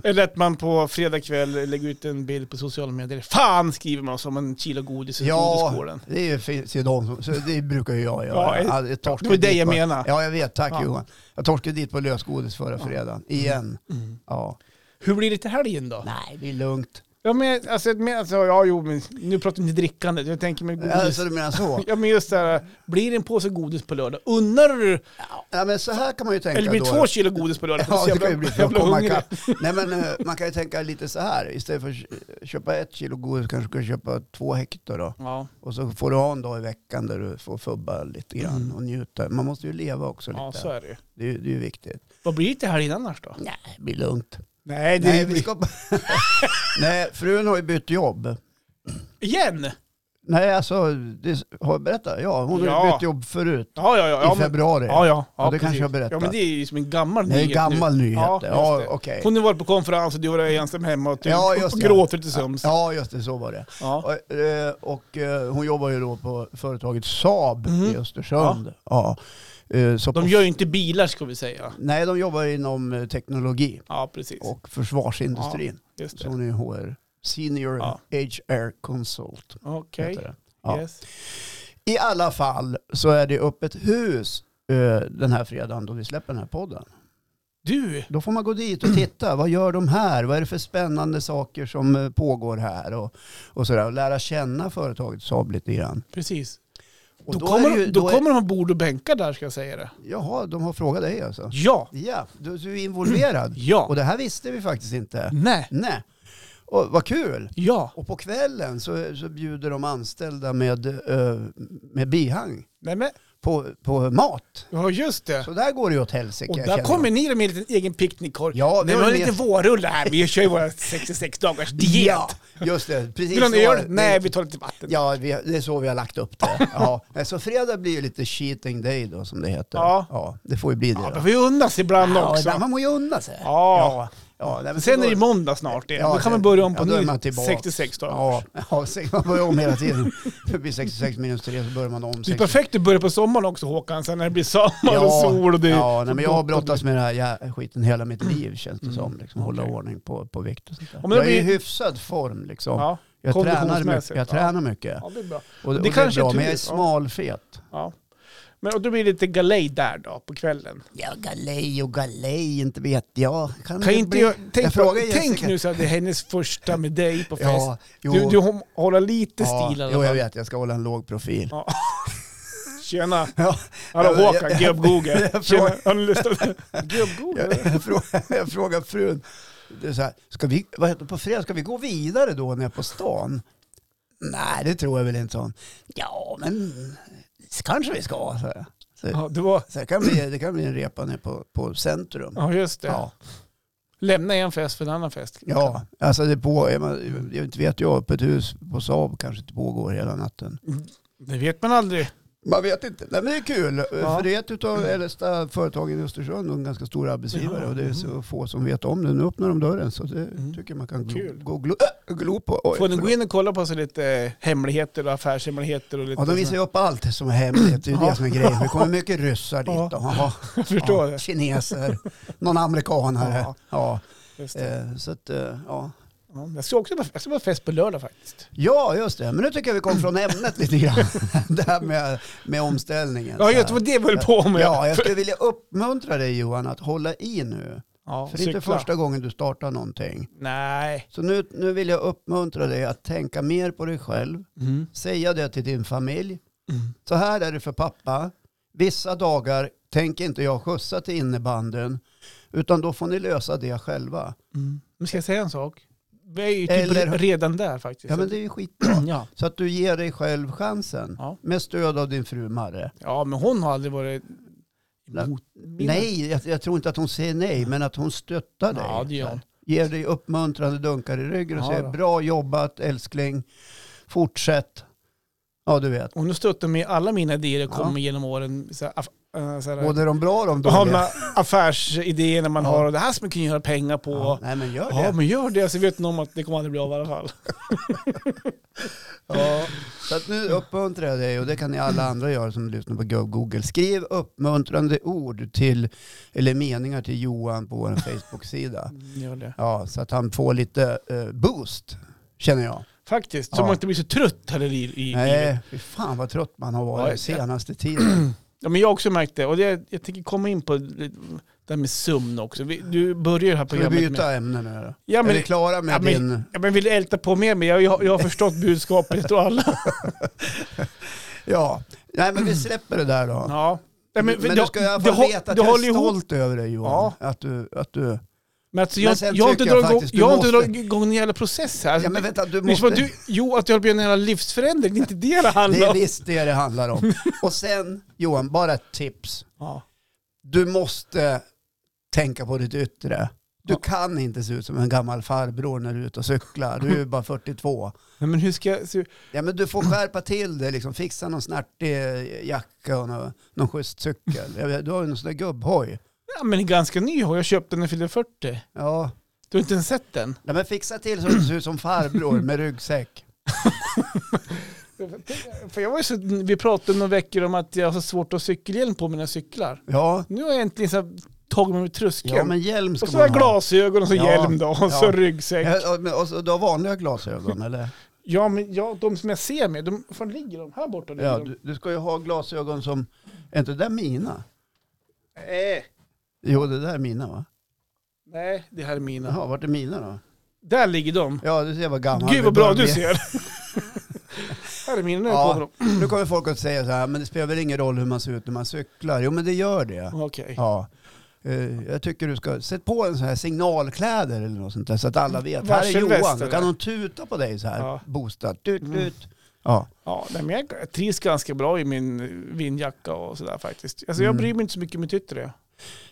[SPEAKER 2] Eller att man på fredag kväll lägger ut en bild på sociala medier. Fan skriver man som en kilo godis i
[SPEAKER 1] Ja.
[SPEAKER 2] godisskålen.
[SPEAKER 1] Det är- finns ju de som, så det brukar ju jag göra.
[SPEAKER 2] Ja, eh,
[SPEAKER 1] Ja, det
[SPEAKER 2] Det var det jag menade.
[SPEAKER 1] Ja, jag vet. Tack
[SPEAKER 2] Ja.
[SPEAKER 1] Johan. Jag torskade dit på lösgodis förra
[SPEAKER 2] Ja.
[SPEAKER 1] fredagen. Igen.
[SPEAKER 2] Mm.
[SPEAKER 1] Ja.
[SPEAKER 2] Hur blir det till helgen då?
[SPEAKER 1] Nej, det är lugnt.
[SPEAKER 2] Ja, men, alltså, men, alltså, ja, jo, men nu pratar vi inte drickande. Jag tänker med godis.
[SPEAKER 1] Alltså du menar så?
[SPEAKER 2] Ja, men just det här, blir det en påse godis på lördag? Unnar du
[SPEAKER 1] Ja, men så här kan man ju tänka
[SPEAKER 2] Eller blir
[SPEAKER 1] då.
[SPEAKER 2] det två kilo godis på lördag?
[SPEAKER 1] Ja,
[SPEAKER 2] Så
[SPEAKER 1] det
[SPEAKER 2] jävla-
[SPEAKER 1] kan ju bli för att
[SPEAKER 2] jävla
[SPEAKER 1] komma
[SPEAKER 2] hungrig.
[SPEAKER 1] ikapp. Nej, men eh, man kan ju tänka lite så här. Istället för att kö- köpa ett kilo godis kanske du kan köpa två hektar då.
[SPEAKER 2] Ja,
[SPEAKER 1] Och så får du ha en dag i veckan där du får fubba lite grann
[SPEAKER 2] Mm.
[SPEAKER 1] och njuta. Man måste ju leva också lite.
[SPEAKER 2] ja, så är det ju.
[SPEAKER 1] det, är, ju- det är ju viktigt.
[SPEAKER 2] Vad blir det här innan annars då?
[SPEAKER 1] Nej, det blir lugnt.
[SPEAKER 2] Nej, det
[SPEAKER 1] Nej,
[SPEAKER 2] är
[SPEAKER 1] vi ska... Nej, frun har ju bytt jobb.
[SPEAKER 2] Igen!
[SPEAKER 1] Nej, alltså, det... har jag berättat? Ja, hon har ju
[SPEAKER 2] Ja.
[SPEAKER 1] bytt jobb förut.
[SPEAKER 2] Ja, ja, ja. ja
[SPEAKER 1] I
[SPEAKER 2] men-
[SPEAKER 1] februari.
[SPEAKER 2] Ja, ja. ja,
[SPEAKER 1] det
[SPEAKER 2] precis.
[SPEAKER 1] kanske jag berättar.
[SPEAKER 2] Ja, men det är ju som en gammal
[SPEAKER 1] det är ju
[SPEAKER 2] nyhet
[SPEAKER 1] gammal nyhet.
[SPEAKER 2] Ja,
[SPEAKER 1] Ja,
[SPEAKER 2] just det.
[SPEAKER 1] okej.
[SPEAKER 2] nu. Hon har varit på konferens och du var ensam hemma och, typ,
[SPEAKER 1] Ja, just
[SPEAKER 2] och
[SPEAKER 1] det.
[SPEAKER 2] gråter till sömns. Ja.
[SPEAKER 1] Ja, just det. Så var det.
[SPEAKER 2] Ja.
[SPEAKER 1] Och, eh, och eh, hon jobbar ju då på företaget Saab
[SPEAKER 2] Mhm.
[SPEAKER 1] i Östersund. Ja. Eh, Så
[SPEAKER 2] De
[SPEAKER 1] på-
[SPEAKER 2] gör ju inte bilar ska vi säga.
[SPEAKER 1] Nej, de jobbar inom eh, teknologi
[SPEAKER 2] Ja, precis.
[SPEAKER 1] och försvarsindustrin.
[SPEAKER 2] Just
[SPEAKER 1] Så
[SPEAKER 2] det.
[SPEAKER 1] hon är HR, Senior
[SPEAKER 2] Ja.
[SPEAKER 1] HR Consult.
[SPEAKER 2] Okej.
[SPEAKER 1] heter det. Ja.
[SPEAKER 2] Yes.
[SPEAKER 1] I alla fall så är det öppet hus eh, den här fredagen då vi släpper den här podden.
[SPEAKER 2] Du!
[SPEAKER 1] Då får man gå dit och titta. Vad gör de här? Vad är det för spännande saker som eh, pågår här? Och, och, sådär. och lära känna företaget Saab lite grann.
[SPEAKER 2] Precis.
[SPEAKER 1] Och
[SPEAKER 2] då,
[SPEAKER 1] är
[SPEAKER 2] kommer,
[SPEAKER 1] det ju-
[SPEAKER 2] de- då,
[SPEAKER 1] då är-
[SPEAKER 2] kommer de ha bord och bänkar där ska jag säga det.
[SPEAKER 1] Jaha, de har frågat dig alltså?
[SPEAKER 2] Ja!
[SPEAKER 1] Ja, du, du är involverad.
[SPEAKER 2] Ja! Mm.
[SPEAKER 1] Och det här visste vi faktiskt inte.
[SPEAKER 2] Nej!
[SPEAKER 1] Nej. Och, vad kul!
[SPEAKER 2] Ja!
[SPEAKER 1] Och på kvällen så, så bjuder de anställda med, eh, med bihang
[SPEAKER 2] Nej men,
[SPEAKER 1] på, på mat.
[SPEAKER 2] ja just det.
[SPEAKER 1] Så där går det ju åt helsike.
[SPEAKER 2] Och där
[SPEAKER 1] känner
[SPEAKER 2] kommer
[SPEAKER 1] jag.
[SPEAKER 2] ni med en liten egen picknickkorg.
[SPEAKER 1] Ja, vi
[SPEAKER 2] Nej, vi
[SPEAKER 1] har
[SPEAKER 2] har
[SPEAKER 1] en
[SPEAKER 2] lite
[SPEAKER 1] mes-
[SPEAKER 2] vårrulle här, vi kör ju våra 66 dagars diet.
[SPEAKER 1] Ja, just det. Precis
[SPEAKER 2] Vill du ha en
[SPEAKER 1] så.
[SPEAKER 2] öl? Nej, vi tar lite vatten.
[SPEAKER 1] Ja, vi, det är så vi har lagt upp det. Ja. Så fredag blir ju lite cheating day då som det heter.
[SPEAKER 2] Ja.
[SPEAKER 1] det får ju bli det.
[SPEAKER 2] Ja,
[SPEAKER 1] Då.
[SPEAKER 2] men vi unnas ibland
[SPEAKER 1] Ja,
[SPEAKER 2] också.
[SPEAKER 1] där man må ju unna sig.
[SPEAKER 2] Ja.
[SPEAKER 1] Ja, nej, men
[SPEAKER 2] Sen
[SPEAKER 1] så
[SPEAKER 2] är det
[SPEAKER 1] då-
[SPEAKER 2] måndag snart igen.
[SPEAKER 1] Ja,
[SPEAKER 2] då kan
[SPEAKER 1] det-
[SPEAKER 2] man börja om på
[SPEAKER 1] ja, då är
[SPEAKER 2] ny
[SPEAKER 1] man tillbaka.
[SPEAKER 2] 66 dagar.
[SPEAKER 1] Ja, ja sen man börjar om hela tiden. Det blir 66 minus 3 så börjar man om.
[SPEAKER 2] Det är
[SPEAKER 1] 60.
[SPEAKER 2] perfekt att börja på sommaren också Håkan, sen när det blir sommar och sol och det
[SPEAKER 1] ja nej, men jag har brottats med den här jä- skiten hela mitt liv känns det som. Liksom, Hålla
[SPEAKER 2] Mm. Okej.
[SPEAKER 1] ordning på, på vikt och sånt där.
[SPEAKER 2] Ja, men det
[SPEAKER 1] jag är i
[SPEAKER 2] blir-
[SPEAKER 1] hyfsad form liksom.
[SPEAKER 2] Ja,
[SPEAKER 1] jag, tränar mycket,
[SPEAKER 2] konditionsmässigt,
[SPEAKER 1] jag
[SPEAKER 2] ja.
[SPEAKER 1] tränar mycket.
[SPEAKER 2] ja, det är bra.
[SPEAKER 1] Och, det,
[SPEAKER 2] Det
[SPEAKER 1] och det är
[SPEAKER 2] kanske är
[SPEAKER 1] bra, men jag är
[SPEAKER 2] tur, ja.
[SPEAKER 1] smalfet.
[SPEAKER 2] Ja. Men och då blir det lite galej där då, på kvällen.
[SPEAKER 1] Ja, galej och galej, inte vet jag. Kan,
[SPEAKER 2] Kan
[SPEAKER 1] det
[SPEAKER 2] inte
[SPEAKER 1] bli-
[SPEAKER 2] jag, tänk, på,
[SPEAKER 1] frågar Jessica.
[SPEAKER 2] tänk nu så att det är hennes första med dig på fest.
[SPEAKER 1] Ja, jo,
[SPEAKER 2] du, du hom- håller lite
[SPEAKER 1] ja,
[SPEAKER 2] stil i alla
[SPEAKER 1] Jo, jag
[SPEAKER 2] fall.
[SPEAKER 1] vet. Jag ska hålla en låg profil.
[SPEAKER 2] Ja. Tjena!
[SPEAKER 1] Ja.
[SPEAKER 2] Hallå
[SPEAKER 1] Ja,
[SPEAKER 2] Håkan,
[SPEAKER 1] jag-
[SPEAKER 2] gubb-Googe.
[SPEAKER 1] jag-
[SPEAKER 2] Tjena, har ni lust att...
[SPEAKER 1] Jag,
[SPEAKER 2] Gubb-Googe?
[SPEAKER 1] jag, frågar, jag frågar frun, det är så här, ska vi, vad heter, det, på fredag, ska vi gå vidare då när jag är på stan? Nej, det tror jag väl inte. sa hon. Ja, men s- kanske vi ska. Så, här. så,
[SPEAKER 2] Ja, det var...
[SPEAKER 1] så det, kan bli, det kan bli en repa nere på, på centrum.
[SPEAKER 2] Ja, just det.
[SPEAKER 1] Ja,
[SPEAKER 2] Lämna en fest för en annan fest.
[SPEAKER 1] ja alltså det på, jag men- jag inte vet jag, på ett hus på Saab kanske inte pågår hela natten.
[SPEAKER 2] Det vet man aldrig.
[SPEAKER 1] Man vet inte. Nej, men det är kul. För det är ett av de äldsta företagen i Östersund och en ganska stor arbetsgivare.
[SPEAKER 2] Ja, Mm.
[SPEAKER 1] Och det är så få som vet om det. Nu öppnar de dörren så det tycker jag man kan glo,
[SPEAKER 2] Kul.
[SPEAKER 1] gå, glo, äh, glo på. Oj,
[SPEAKER 2] Får ni gå
[SPEAKER 1] förlåt.
[SPEAKER 2] in och kolla på så lite eh, hemligheter och affärshemligheter och lite...
[SPEAKER 1] ja, de visar ju upp allt som är hemligt. Det är ju det
[SPEAKER 2] Ja.
[SPEAKER 1] som är grejen. Det kommer mycket ryssar dit.
[SPEAKER 2] Ja.
[SPEAKER 1] Ja.
[SPEAKER 2] Jag förstår
[SPEAKER 1] ja,
[SPEAKER 2] det.
[SPEAKER 1] Kineser, någon amerikanare.
[SPEAKER 2] Ja.
[SPEAKER 1] Ja.
[SPEAKER 2] Just det.
[SPEAKER 1] eh, Så att, eh, ja.
[SPEAKER 2] Ja, Jag ska också på, jag ska på fest på lördag faktiskt.
[SPEAKER 1] ja, just det. Men nu tycker jag vi kom från ämnet lite grann. Det här med, med omställningen.
[SPEAKER 2] Ja, just det, var det jag höll på med.
[SPEAKER 1] Ja, jag skulle vilja uppmuntra dig Johan att hålla i nu.
[SPEAKER 2] Ja,
[SPEAKER 1] För det är inte
[SPEAKER 2] cykla.
[SPEAKER 1] första gången du startar någonting.
[SPEAKER 2] Nej.
[SPEAKER 1] Så nu, nu vill jag uppmuntra dig att tänka mer på dig själv. Säga det till din familj.
[SPEAKER 2] Mm.
[SPEAKER 1] Så här är det för pappa. Vissa dagar tänker inte jag skjutsa till innebanden. Utan då får ni lösa det själva.
[SPEAKER 2] Men ska jag säga en sak? Vi är ju typ
[SPEAKER 1] mm. Eller-
[SPEAKER 2] redan där faktiskt.
[SPEAKER 1] Ja men det är ju skitbra.
[SPEAKER 2] ja.
[SPEAKER 1] Så att du ger dig själv chansen.
[SPEAKER 2] Ja.
[SPEAKER 1] Med stöd av din fru Marre.
[SPEAKER 2] ja, men hon har aldrig varit emot min-
[SPEAKER 1] Nej, jag, jag tror inte att hon säger nej. Men att hon stöttar dig.
[SPEAKER 2] Ja, det gör hon.
[SPEAKER 1] ger dig uppmuntrande dunkar i ryggen och
[SPEAKER 2] Ja,
[SPEAKER 1] säger
[SPEAKER 2] då.
[SPEAKER 1] bra jobbat älskling, fortsätt. Ja du vet,
[SPEAKER 2] Hon har stöttat mig i alla mina idéer jag kommer
[SPEAKER 1] Ja.
[SPEAKER 2] med genom åren. Så här, aff, äh, så här,
[SPEAKER 1] både de bra och de
[SPEAKER 2] då har
[SPEAKER 1] dåliga.
[SPEAKER 2] man affärsidéer man
[SPEAKER 1] Ja.
[SPEAKER 2] har och det här som man kan göra pengar på.
[SPEAKER 1] Ja,
[SPEAKER 2] Ja.
[SPEAKER 1] nej men gör det.
[SPEAKER 2] men gör det så vet ni om att det kommer aldrig bli av i alla fall.
[SPEAKER 1] Ja. Så att nu uppmuntrar jag dig och det kan ni alla andra göra som lyssnar på Go- Google. Skriv uppmuntrande ord till, eller meningar till Johan på vår Facebook-sida.
[SPEAKER 2] Gör det.
[SPEAKER 1] Ja, så att han får lite eh, boost känner jag.
[SPEAKER 2] Faktiskt, så
[SPEAKER 1] Ja.
[SPEAKER 2] man inte blir så trött heller i, i livet.
[SPEAKER 1] Nej, fy fan vad trött man har
[SPEAKER 2] Ja,
[SPEAKER 1] varit
[SPEAKER 2] jag-
[SPEAKER 1] senaste tiden.
[SPEAKER 2] Ja, men jag har också märkt det. Och det, jag tänker komma in på det där med sömn också. Vi, du börjar det här
[SPEAKER 1] Ska vi
[SPEAKER 2] programmet med...
[SPEAKER 1] byta ämne nu då?
[SPEAKER 2] Ja,
[SPEAKER 1] är
[SPEAKER 2] men-
[SPEAKER 1] vi klara med
[SPEAKER 2] ja, men-
[SPEAKER 1] din...
[SPEAKER 2] Ja, men vill du älta på mer? Men jag, jag, jag har förstått budskapet och alla.
[SPEAKER 1] Ja, nej men vi släpper det där då.
[SPEAKER 2] Ja. Nej,
[SPEAKER 1] men
[SPEAKER 2] för
[SPEAKER 1] du ska i alla fall
[SPEAKER 2] hå-
[SPEAKER 1] veta att
[SPEAKER 2] det
[SPEAKER 1] jag är
[SPEAKER 2] håller ihop.
[SPEAKER 1] stolt över dig Johan. Att du, att du...
[SPEAKER 2] Men alltså,
[SPEAKER 1] Men
[SPEAKER 2] jag,
[SPEAKER 1] sen
[SPEAKER 2] jag har inte
[SPEAKER 1] tycker jag
[SPEAKER 2] dragit igång-
[SPEAKER 1] faktiskt du
[SPEAKER 2] jag har inte
[SPEAKER 1] måste-
[SPEAKER 2] dragit igång en jävla process här.
[SPEAKER 1] Ja men vänta, du
[SPEAKER 2] Det är som
[SPEAKER 1] måste...
[SPEAKER 2] att Alltså, liksom, du, jo, att jag håller på med en jävla livsförändring, det är inte det det
[SPEAKER 1] Det
[SPEAKER 2] handlar
[SPEAKER 1] är
[SPEAKER 2] om.
[SPEAKER 1] visst det det handlar om. Och sen Johan, bara ett tips.
[SPEAKER 2] Ja.
[SPEAKER 1] Du måste tänka på ditt yttre. Du
[SPEAKER 2] Ja.
[SPEAKER 1] kan inte se ut som en gammal farbror när du är ute och cyklar. Du är ju bara 42.
[SPEAKER 2] Nej, men hur ska jag... Så,
[SPEAKER 1] Ja, men du får skärpa till dig. Liksom. Fixa någon snärtig eh, jacka och någon, någon schysst cykel. Jag vet, Du har ju någon sån där gubbhoj.
[SPEAKER 2] ja, men en ganska ny har jag köpt den när jag fyllde 40.
[SPEAKER 1] Ja.
[SPEAKER 2] Du har inte ens sett den?
[SPEAKER 1] Nej, men fixa till så du ser ut som farbror med ryggsäck.
[SPEAKER 2] För jag var ju så, vi pratade några veckor om att jag har så svårt att ha cykelhjälm på mina cyklar.
[SPEAKER 1] Ja.
[SPEAKER 2] Nu har jag äntligen så här, tagit mig över tröskeln.
[SPEAKER 1] Ja men hjälm ska
[SPEAKER 2] och så har
[SPEAKER 1] man
[SPEAKER 2] jag
[SPEAKER 1] ha.
[SPEAKER 2] glasögon och så
[SPEAKER 1] Ja,
[SPEAKER 2] hjälm då, och
[SPEAKER 1] ja.
[SPEAKER 2] så ryggsäck.
[SPEAKER 1] Ja, och- men- Och så, du har vanliga glasögon eller?
[SPEAKER 2] Ja, men ja, de som jag ser med, de, fan ligger de här borta? ligger
[SPEAKER 1] Ja,
[SPEAKER 2] de.
[SPEAKER 1] du, du ska ju ha glasögon som, är inte det där mina?
[SPEAKER 2] Nej.
[SPEAKER 1] Jo det där är mina va?
[SPEAKER 2] Nej, det här är mina.
[SPEAKER 1] Jaha, vart är mina då?
[SPEAKER 2] Där ligger de.
[SPEAKER 1] Ja, du ser vad gammal
[SPEAKER 2] Gud
[SPEAKER 1] vi
[SPEAKER 2] vad bra
[SPEAKER 1] börjar bli.
[SPEAKER 2] du ser. här är mina när jag
[SPEAKER 1] Ja.
[SPEAKER 2] kommer upp.
[SPEAKER 1] Nu kommer folk att säga så här, men det spelar väl ingen roll hur man ser ut när man cyklar? Jo, men det gör det.
[SPEAKER 2] Okej.
[SPEAKER 1] Ja. Eh, Jag tycker du ska sätta på en sån här signalkläder eller något sånt där så att alla vet. Här är
[SPEAKER 2] Varselväst,
[SPEAKER 1] Johan, då
[SPEAKER 2] eller?
[SPEAKER 1] kan de tuta på dig så här.
[SPEAKER 2] Ja.
[SPEAKER 1] Boostad. Tut,
[SPEAKER 2] Mm.
[SPEAKER 1] tut. Ja.
[SPEAKER 2] Ja, nej, men jag jag trivs ganska bra i min eh, vindjacka och sådär faktiskt. Alltså, jag
[SPEAKER 1] Mm.
[SPEAKER 2] bryr mig inte så mycket om mitt yttre.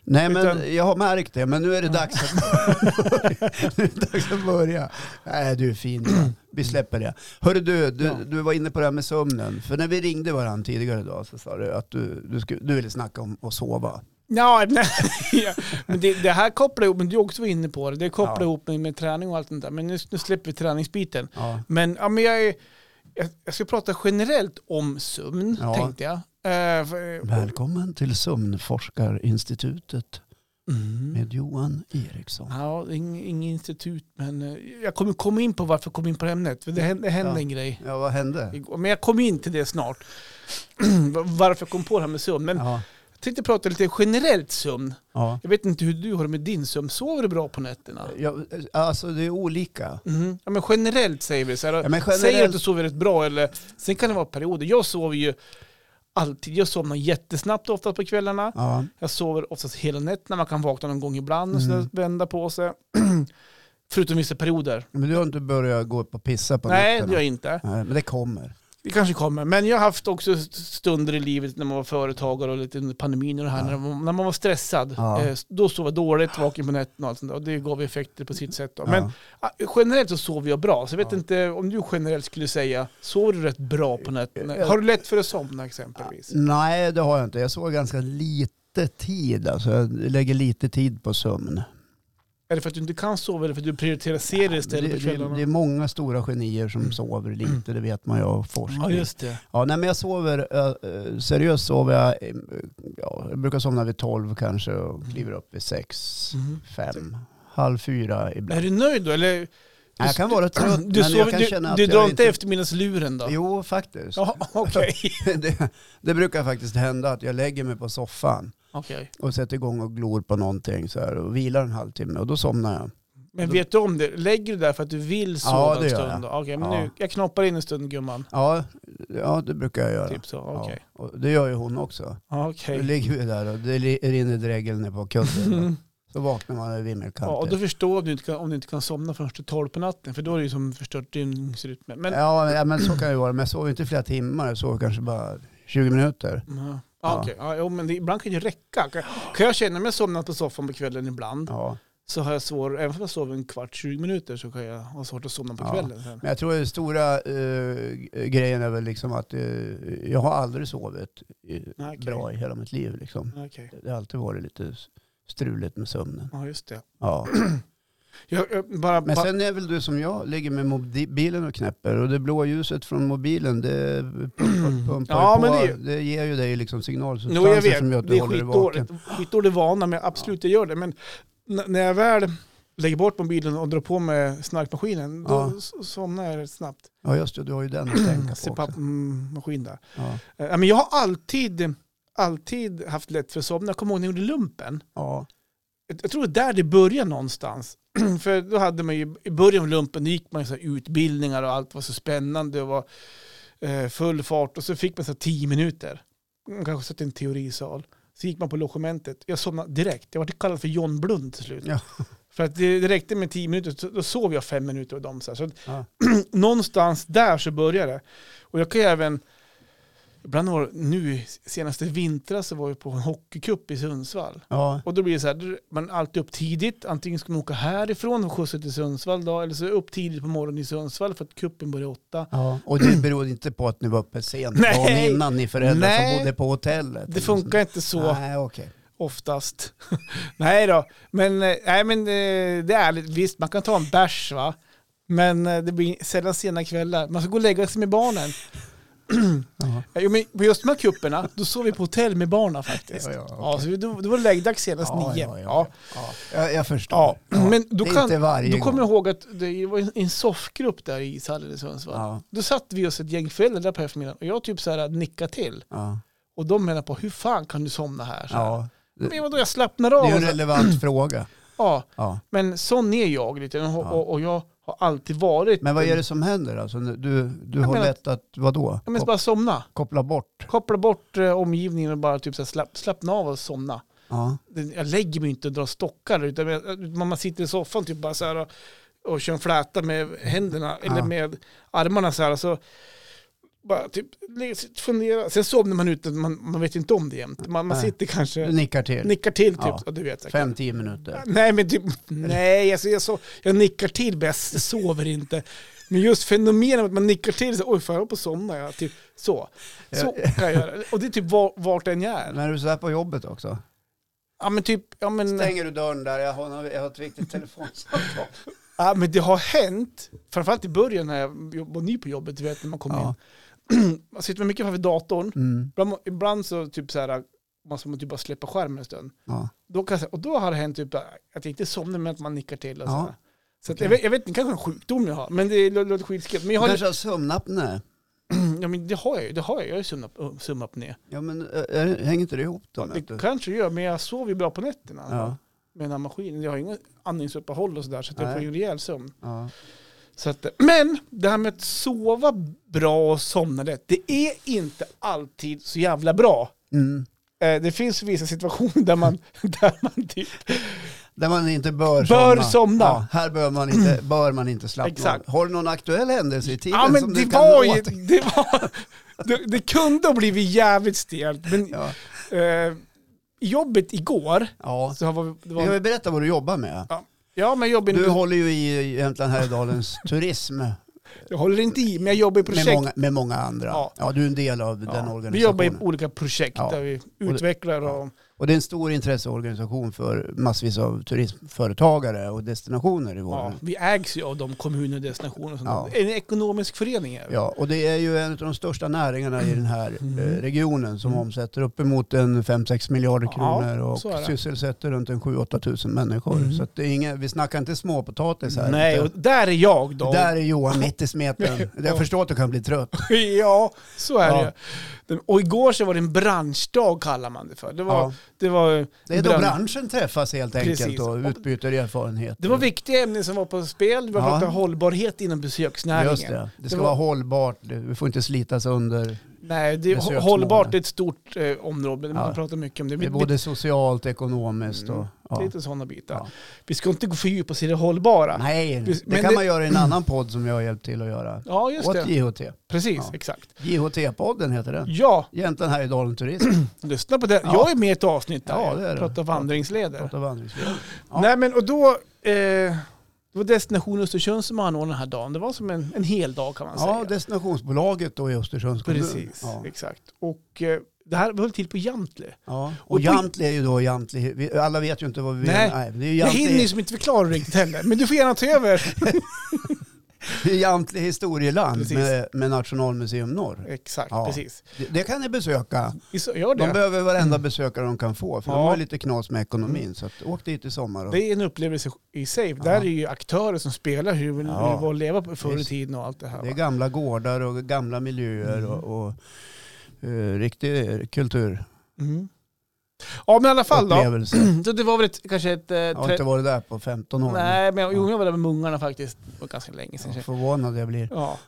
[SPEAKER 1] Nej men
[SPEAKER 2] Utan-
[SPEAKER 1] jag har märkt det, men nu är det dags att börja. nu är det dags att börja. Nej du är fin Johan. vi släpper det. Hörru du, du,
[SPEAKER 2] Ja.
[SPEAKER 1] du var inne på det här med sömnen. För när vi ringde varandra tidigare idag så sa du att du, du, skulle, du ville snacka om att sova.
[SPEAKER 2] Ja, nej, ja. men det, det här kopplar ihop, men du också var inne på det, det kopplar
[SPEAKER 1] Ja.
[SPEAKER 2] ihop med, med träning och allt det där. Men nu, nu släpper vi träningsbiten.
[SPEAKER 1] Ja.
[SPEAKER 2] Men, ja, men jag, är, jag, jag ska prata generellt om sömn,
[SPEAKER 1] Ja.
[SPEAKER 2] tänkte jag. Eh, för-
[SPEAKER 1] Välkommen till Sömnforskarinstitutet
[SPEAKER 2] Mm.
[SPEAKER 1] med Johan Eriksson.
[SPEAKER 2] Ja, ing- inget institut, men eh, jag kommer komma in på varför jag kom in på det ämnet. För det hände, det hände
[SPEAKER 1] Mm. Ja.
[SPEAKER 2] en grej
[SPEAKER 1] Ja vad hände?
[SPEAKER 2] igår, men jag kommer in till det snart. varför jag kom på det här med sömn. Men
[SPEAKER 1] Ja.
[SPEAKER 2] jag tänkte prata lite generellt sömn.
[SPEAKER 1] Ja.
[SPEAKER 2] Jag vet inte hur du har det med din sömn. Sover du bra på nätterna?
[SPEAKER 1] Ja, alltså det är olika.
[SPEAKER 2] Mhm. Ja, men generellt säger vi så här.
[SPEAKER 1] Ja, men generellt-
[SPEAKER 2] Säger att du sover rätt bra eller sen kan det vara perioder. Jag sover ju alltid. Jag somnar jättesnabbt ofta på kvällarna.
[SPEAKER 1] Ja.
[SPEAKER 2] Jag sover oftast hela nätterna. Man kan vakna någon gång ibland och
[SPEAKER 1] Mm.
[SPEAKER 2] sådär vända på sig. Förutom vissa perioder.
[SPEAKER 1] Men du har inte börjat gå upp och pissa på
[SPEAKER 2] Nej, det
[SPEAKER 1] nätterna?
[SPEAKER 2] gör jag inte.
[SPEAKER 1] Nej, men det kommer.
[SPEAKER 2] Det kanske kommer. Men jag har haft också st- stunder i livet när man var företagare och lite under pandemin och det här.
[SPEAKER 1] Ja.
[SPEAKER 2] När, man, när man var stressad.
[SPEAKER 1] Ja.
[SPEAKER 2] Eh, Då sov jag dåligt, vaken på nätterna och allt sånt där. Och det gav effekter på sitt sätt. Då.
[SPEAKER 1] Ja.
[SPEAKER 2] Men Ah, Generellt så sover jag bra, så jag vet
[SPEAKER 1] Ja.
[SPEAKER 2] inte om du generellt skulle säga, sover du rätt bra på
[SPEAKER 1] Eh,
[SPEAKER 2] nätterna? Har du lätt för att somna exempelvis?
[SPEAKER 1] Ah, Nej, det har jag inte. Jag sover ganska lite tid. Alltså, jag lägger lite tid på sömn.
[SPEAKER 2] Är det för att du inte kan sova eller för att du prioriterar serier istället
[SPEAKER 1] det,
[SPEAKER 2] på
[SPEAKER 1] det,
[SPEAKER 2] kvällarna?
[SPEAKER 1] det är många stora genier som sover lite, det vet man ju av forskning.
[SPEAKER 2] ja, just det.
[SPEAKER 1] Ja, nej, men jag sover, eh, eh, seriöst sover jag, eh, ja, jag brukar somna vid tolv kanske och kliver upp vid sex,
[SPEAKER 2] Mhm.
[SPEAKER 1] fem, halv fyra
[SPEAKER 2] Är
[SPEAKER 1] ibland.
[SPEAKER 2] du nöjd då? Eller,
[SPEAKER 1] Nej, jag kan vara trött,
[SPEAKER 2] du
[SPEAKER 1] men jag kan känna
[SPEAKER 2] sover,
[SPEAKER 1] att
[SPEAKER 2] du, du
[SPEAKER 1] jag
[SPEAKER 2] drar inte eftermiddagsluren då?
[SPEAKER 1] Jo, faktiskt.
[SPEAKER 2] Ja, okej.
[SPEAKER 1] det, det brukar faktiskt hända att jag lägger mig på soffan
[SPEAKER 2] Okej.
[SPEAKER 1] och sätter igång och glor på någonting så här och vilar en halvtimme och då somnar jag.
[SPEAKER 2] Men
[SPEAKER 1] Då-
[SPEAKER 2] vet du om det? Lägger du där för att du vill sova
[SPEAKER 1] Ja, det
[SPEAKER 2] en
[SPEAKER 1] gör
[SPEAKER 2] stund? då? Okej, men
[SPEAKER 1] Ja.
[SPEAKER 2] nu, jag knoppar in en stund gumman.
[SPEAKER 1] Ja, ja det brukar jag göra.
[SPEAKER 2] Typ så, okej.
[SPEAKER 1] Ja, och det gör ju hon också.
[SPEAKER 2] Ja.
[SPEAKER 1] Då
[SPEAKER 2] okej.
[SPEAKER 1] ligger vi där och det li- rinner dregel ner på kudden.
[SPEAKER 2] Mm.
[SPEAKER 1] Så vaknar man över vimmelkanten.
[SPEAKER 2] Ja, och då förstår jag om du inte kan, om du inte kan somna förrän till tolv på natten, för då är det ju som förstört dygnsrytmen. Men
[SPEAKER 1] ja, ja, men så kan det ju vara. Men jag sover inte flera timmar, jag sover kanske bara 20 minuter.
[SPEAKER 2] Ja.
[SPEAKER 1] Ja.
[SPEAKER 2] Ja. okej. Ja, jo, men det, ibland kan det räcka. Kan, kan jag känna mig somnat på soffan på kvällen ibland
[SPEAKER 1] Ja.
[SPEAKER 2] så har jag svårt, även om jag sover en kvart, 20 minuter så kan jag ha svårt att somna på
[SPEAKER 1] Ja.
[SPEAKER 2] kvällen sen.
[SPEAKER 1] Men jag tror den stora eh, grejen är väl liksom att eh, jag har aldrig sovit eh,
[SPEAKER 2] Nej, okej.
[SPEAKER 1] bra i hela mitt liv. Liksom.
[SPEAKER 2] Okej.
[SPEAKER 1] Det har alltid varit lite s- struligt med sömnen.
[SPEAKER 2] Ja, just det.
[SPEAKER 1] Ja.
[SPEAKER 2] Jag, jag, bara,
[SPEAKER 1] Men
[SPEAKER 2] ba-
[SPEAKER 1] sen är väl du som jag, ligger med mobilen och knäpper och det blå ljuset från mobilen det pumpar, pumpar
[SPEAKER 2] Ja,
[SPEAKER 1] på.
[SPEAKER 2] men
[SPEAKER 1] det,
[SPEAKER 2] det-
[SPEAKER 1] ger ju dig liksom
[SPEAKER 2] jo, jag
[SPEAKER 1] signalsubstanser
[SPEAKER 2] vet,
[SPEAKER 1] som gör att
[SPEAKER 2] det
[SPEAKER 1] du
[SPEAKER 2] är
[SPEAKER 1] håller dig vaken.
[SPEAKER 2] skitdåligt, skitdålig vana, men absolut jag gör det. Men n- när jag väl lägger bort mobilen och drar på mig snarkmaskinen, då
[SPEAKER 1] Ja.
[SPEAKER 2] s- somnar jag rätt snabbt.
[SPEAKER 1] Ja just det, du har ju den att tänka på också.
[SPEAKER 2] CPAP-maskin där.
[SPEAKER 1] Ja.
[SPEAKER 2] Eh, ja, men jag har alltid, alltid haft lätt för att somna. Jag kommer ihåg när jag gjorde lumpen.
[SPEAKER 1] Ja.
[SPEAKER 2] jag jag tror det är där det börjar någonstans. För då hade man ju, i början av lumpen, då gick man ju så här utbildningar och allt var så spännande och var eh, full fart och så fick man så här tio minuter. Man kanske satt i en teorisal. Så gick man på logementet. Jag somnade direkt. Jag var kallad för John Blund till slut.
[SPEAKER 1] Ja.
[SPEAKER 2] För att det, det räckte med tio minuter, så, då sov jag fem minuter och dem. Så, här. så att,
[SPEAKER 1] Ja.
[SPEAKER 2] någonstans där så började det. Och jag kan ju även, ibland var det nu senaste vintrar så var jag på en hockeycup i Sundsvall.
[SPEAKER 1] Ja.
[SPEAKER 2] Och då blir det så här, man är alltid upp tidigt. Antingen ska man åka härifrån och skjutsa till Sundsvall då, eller så upp tidigt på morgonen i Sundsvall för att kuppen börjar åtta.
[SPEAKER 1] Ja. Och det beror inte på att ni var uppe sent
[SPEAKER 2] Nej.
[SPEAKER 1] dagen innan ni föräldrar
[SPEAKER 2] Nej.
[SPEAKER 1] som bodde på hotellet.
[SPEAKER 2] Det funkar inte
[SPEAKER 1] så.
[SPEAKER 2] så
[SPEAKER 1] Nej okej.
[SPEAKER 2] oftast. nej då, men, eh, nej, men eh, det är ärligt. Visst, man kan ta en bärs va. Men eh, det blir sällan sena kvällar. Man ska gå och lägga sig med barnen.
[SPEAKER 1] Ja.
[SPEAKER 2] Jo, men på just de här kupperna, då sov vi på hotell med barnen faktiskt.
[SPEAKER 1] Ja,
[SPEAKER 2] Ja,
[SPEAKER 1] ja,
[SPEAKER 2] så vi- då, då var det läggdags senast
[SPEAKER 1] Ja,
[SPEAKER 2] nio.
[SPEAKER 1] ja, ja.
[SPEAKER 2] Ja.
[SPEAKER 1] Ja. Jag, jag förstår.
[SPEAKER 2] Ja, men då,
[SPEAKER 1] det är
[SPEAKER 2] kan,
[SPEAKER 1] inte varje
[SPEAKER 2] då kommer
[SPEAKER 1] gång.
[SPEAKER 2] jag ihåg att det var en- en soffgrupp där i ishallen i Sundsvall.
[SPEAKER 1] Ja.
[SPEAKER 2] Då satt vi oss ett gäng föräldrar där på eftermiddagen och jag typ så här nickade till.
[SPEAKER 1] Ja.
[SPEAKER 2] Och de menar på hur fan kan du somna här? Så här.
[SPEAKER 1] Ja.
[SPEAKER 2] Men vadå, jag slappnar av.
[SPEAKER 1] Det är ju en
[SPEAKER 2] och så här.
[SPEAKER 1] relevant fråga.
[SPEAKER 2] Ja,
[SPEAKER 1] Ja.
[SPEAKER 2] men sån är jag lite. Och,
[SPEAKER 1] Ja.
[SPEAKER 2] och, och jag har alltid varit...
[SPEAKER 1] Men vad är det som händer? Alltså, du du
[SPEAKER 2] Jag
[SPEAKER 1] har
[SPEAKER 2] menar-
[SPEAKER 1] lätt att, vadå?
[SPEAKER 2] Jag menar,
[SPEAKER 1] Kop-
[SPEAKER 2] bara somna.
[SPEAKER 1] Koppla bort?
[SPEAKER 2] Koppla bort eh, omgivningen och bara typ så här, slapp, slappna av och somna.
[SPEAKER 1] Ja.
[SPEAKER 2] Det- Jag lägger mig inte och drar stockar. Utan jag, man man sitter i soffan typ bara så här och, och kör en fläta med händerna eller
[SPEAKER 1] Ja.
[SPEAKER 2] med armarna så här. Så bara typ lägger sig- fundera. Sen somnar man ute, man, man vet inte om det jämt. Man, man
[SPEAKER 1] Nej.
[SPEAKER 2] sitter kanske,
[SPEAKER 1] Du nickar till?
[SPEAKER 2] nickar till typ.
[SPEAKER 1] Ja.
[SPEAKER 2] Ja. Du vet, så här,
[SPEAKER 1] Fem, tio minuter?
[SPEAKER 2] Nej, men typ, nej, alltså jag, så, jag nickar till bäst, jag sover inte. Men just fenomenet att man nickar till, så, oj fan jag höll på att somna, jag, typ så. Så kan jag göra. Och det är typ var, vart än jag är.
[SPEAKER 1] Men är du sådär på jobbet också?
[SPEAKER 2] Ja men typ, ja men,
[SPEAKER 1] Stänger du dörren där? Jag har, jag har ett viktigt telefonsamtal.
[SPEAKER 2] ja, men det har hänt, framförallt i början när jag var ny på jobbet, du vet när man kommer
[SPEAKER 1] Ja.
[SPEAKER 2] in. Man sitter mycket framför datorn,
[SPEAKER 1] Mm.
[SPEAKER 2] ibland, ibland så typ så här, man ska typ bara släppa skärmen en stund.
[SPEAKER 1] Ja.
[SPEAKER 2] Då kan jag, säga- och då har det hänt typ att jag inte somnar men att man nickar till och
[SPEAKER 1] Ja.
[SPEAKER 2] sådär. Så att,
[SPEAKER 1] Okej.
[SPEAKER 2] jag, vet, jag vet inte, kanske en sjukdom jag har, men det lå- låter skitskumt. Men
[SPEAKER 1] Du
[SPEAKER 2] jag har liksom,
[SPEAKER 1] kanske har sömnapné?
[SPEAKER 2] Ja men det har jag ju, det har jag. Jag har ju sumnap- sömnapné.
[SPEAKER 1] Ja men ä- ä- hänger inte det ihop då?
[SPEAKER 2] Det
[SPEAKER 1] vet du?
[SPEAKER 2] kanske jag gör, men jag sover ju bra på nätterna
[SPEAKER 1] Ja.
[SPEAKER 2] med den här maskinen. Jag har inga andningsuppehåll och sådär, så att jag
[SPEAKER 1] Nej.
[SPEAKER 2] får ju en rejäl sömn.
[SPEAKER 1] Ja.
[SPEAKER 2] Så att, men det här med att sova bra och somna lätt, det är inte alltid så jävla bra.
[SPEAKER 1] Mm.
[SPEAKER 2] Eh, Det finns vissa situationer där man, där man typ,
[SPEAKER 1] Där man inte bör,
[SPEAKER 2] Bör
[SPEAKER 1] somna.
[SPEAKER 2] somna.
[SPEAKER 1] Ja, här bör man inte, bör man inte slappna
[SPEAKER 2] Exakt.
[SPEAKER 1] av. Har du någon aktuell händelse i tiden
[SPEAKER 2] ja men
[SPEAKER 1] som
[SPEAKER 2] det
[SPEAKER 1] du kan
[SPEAKER 2] var
[SPEAKER 1] dra
[SPEAKER 2] ju,
[SPEAKER 1] åt?
[SPEAKER 2] det var, det, det kunde ha blivit jävligt stelt. Men
[SPEAKER 1] Ja.
[SPEAKER 2] eh, jobbet igår,
[SPEAKER 1] ja.
[SPEAKER 2] så var, det
[SPEAKER 1] Vi kan
[SPEAKER 2] var,
[SPEAKER 1] väl berätta vad du jobbar med.
[SPEAKER 2] ja men jobbet
[SPEAKER 1] Du håller ju i Jämtland Härjedalens turism
[SPEAKER 2] Jag håller inte i, men jag jobbar i projekt.
[SPEAKER 1] med många, med många andra. Ja.
[SPEAKER 2] Ja.
[SPEAKER 1] du är en del av
[SPEAKER 2] Ja,
[SPEAKER 1] den
[SPEAKER 2] vi jobbar i
[SPEAKER 1] organisationen.
[SPEAKER 2] olika projekt
[SPEAKER 1] Ja.
[SPEAKER 2] där vi utvecklar och...
[SPEAKER 1] Och det är en stor intresseorganisation för massvis av turismföretagare och destinationer i vår
[SPEAKER 2] Ja, vi ägs ju av de kommuner och destinationer. och sånt.
[SPEAKER 1] Ja.
[SPEAKER 2] En ekonomisk förening är vi.
[SPEAKER 1] Ja, och det är ju en av de största näringarna i den här
[SPEAKER 2] Mm.
[SPEAKER 1] eh, regionen som
[SPEAKER 2] Mm.
[SPEAKER 1] omsätter uppemot en 5-6 miljarder
[SPEAKER 2] Ja,
[SPEAKER 1] kronor
[SPEAKER 2] så är
[SPEAKER 1] och
[SPEAKER 2] det.
[SPEAKER 1] sysselsätter runt en 7-8 tusen människor.
[SPEAKER 2] Mm.
[SPEAKER 1] Så att det är inga, vi snackar inte småpotatis här.
[SPEAKER 2] Nej,
[SPEAKER 1] utan
[SPEAKER 2] och där är jag då.
[SPEAKER 1] Där är Johan mitt i smeten. Jag
[SPEAKER 2] Ja.
[SPEAKER 1] förstår att du kan bli trött.
[SPEAKER 2] ja, så är
[SPEAKER 1] Ja.
[SPEAKER 2] det det. Och igår så var det en branschdag kallar man det för. Det var,
[SPEAKER 1] Ja.
[SPEAKER 2] det var,
[SPEAKER 1] Det är då
[SPEAKER 2] bransch-
[SPEAKER 1] branschen träffas helt enkelt
[SPEAKER 2] Precis.
[SPEAKER 1] och utbyter erfarenheter.
[SPEAKER 2] det var viktiga ämnen som var på spel. Vi
[SPEAKER 1] Ja.
[SPEAKER 2] pratade hållbarhet inom besöksnäringen.
[SPEAKER 1] Just det. Det ska
[SPEAKER 2] Det var-
[SPEAKER 1] vara hållbart. Det- Vi får inte slita sönder.
[SPEAKER 2] Nej, det,
[SPEAKER 1] Besöksmålen.
[SPEAKER 2] hållbart är ett stort eh, område. Man
[SPEAKER 1] Ja.
[SPEAKER 2] pratar mycket om det.
[SPEAKER 1] Det är både socialt, ekonomiskt och...
[SPEAKER 2] Mm.
[SPEAKER 1] Ja.
[SPEAKER 2] Lite sådana bitar.
[SPEAKER 1] Ja.
[SPEAKER 2] Vi ska inte gå fördjupa oss i det hållbara.
[SPEAKER 1] Nej,
[SPEAKER 2] Precis,
[SPEAKER 1] det
[SPEAKER 2] men
[SPEAKER 1] kan
[SPEAKER 2] det-
[SPEAKER 1] man göra i en annan podd som jag har hjälpt till att göra.
[SPEAKER 2] Ja, just
[SPEAKER 1] Åt
[SPEAKER 2] det.
[SPEAKER 1] JHT.
[SPEAKER 2] Precis,
[SPEAKER 1] Ja.
[SPEAKER 2] exakt.
[SPEAKER 1] JHT-podden heter den.
[SPEAKER 2] Ja,
[SPEAKER 1] Jämtland här i Dalen Turism.
[SPEAKER 2] lyssna på det.
[SPEAKER 1] Ja.
[SPEAKER 2] Jag är med i ett avsnitt där.
[SPEAKER 1] Ja, det är det.
[SPEAKER 2] Pratar vandringsleder.
[SPEAKER 1] Prata vandringsleder. Ja.
[SPEAKER 2] Nej, men och då... Eh, det var Destination Östersund som anordnade den här dagen. Det var som en, en hel dag kan man
[SPEAKER 1] Ja,
[SPEAKER 2] säga.
[SPEAKER 1] destinationsbolaget då i Östersunds kommun.
[SPEAKER 2] Precis,
[SPEAKER 1] Ja.
[SPEAKER 2] exakt. Och eh, det här höll till på Jamtli.
[SPEAKER 1] Ja. Och,
[SPEAKER 2] Och på-
[SPEAKER 1] Jamtli är ju då Jamtli. vi- Alla vet ju inte vad vi
[SPEAKER 2] Nej.
[SPEAKER 1] Nej, det är ju
[SPEAKER 2] Jag hinner ju
[SPEAKER 1] Jamtli,
[SPEAKER 2] som inte förklara riktigt heller, men du får gärna ta över.
[SPEAKER 1] det är Jamtli historieland
[SPEAKER 2] Precis.
[SPEAKER 1] med, med Nationalmuseum Norr.
[SPEAKER 2] Exakt,
[SPEAKER 1] Ja.
[SPEAKER 2] precis.
[SPEAKER 1] Det, det kan ni besöka.
[SPEAKER 2] Vi så- Gör
[SPEAKER 1] De
[SPEAKER 2] det.
[SPEAKER 1] behöver varenda besökare de kan få. För de
[SPEAKER 2] Ja. Mm.
[SPEAKER 1] har ju lite knas med ekonomin. Så att, åk dit i sommar. Och,
[SPEAKER 2] Det är en upplevelse i sig. Där är ju aktörer som spelar hur, hur det
[SPEAKER 1] Ja.
[SPEAKER 2] var att leva på förr i
[SPEAKER 1] Visst.
[SPEAKER 2] tiden och allt det här.
[SPEAKER 1] det är
[SPEAKER 2] va?
[SPEAKER 1] gamla gårdar och gamla miljöer
[SPEAKER 2] Mm.
[SPEAKER 1] och, och eh, riktig kulturupplevelse.
[SPEAKER 2] Mm. Ja, men i alla fall då. Så det var väl ett, kanske ett... Eh,
[SPEAKER 1] Jag har inte
[SPEAKER 2] tre...
[SPEAKER 1] varit där på 15 år.
[SPEAKER 2] Nej, men jag, jo,
[SPEAKER 1] Ja.
[SPEAKER 2] jag var där med mungarna faktiskt. Det var ganska länge sedan.
[SPEAKER 1] Ja,
[SPEAKER 2] Ja.
[SPEAKER 1] förvånad jag blir.
[SPEAKER 2] ja.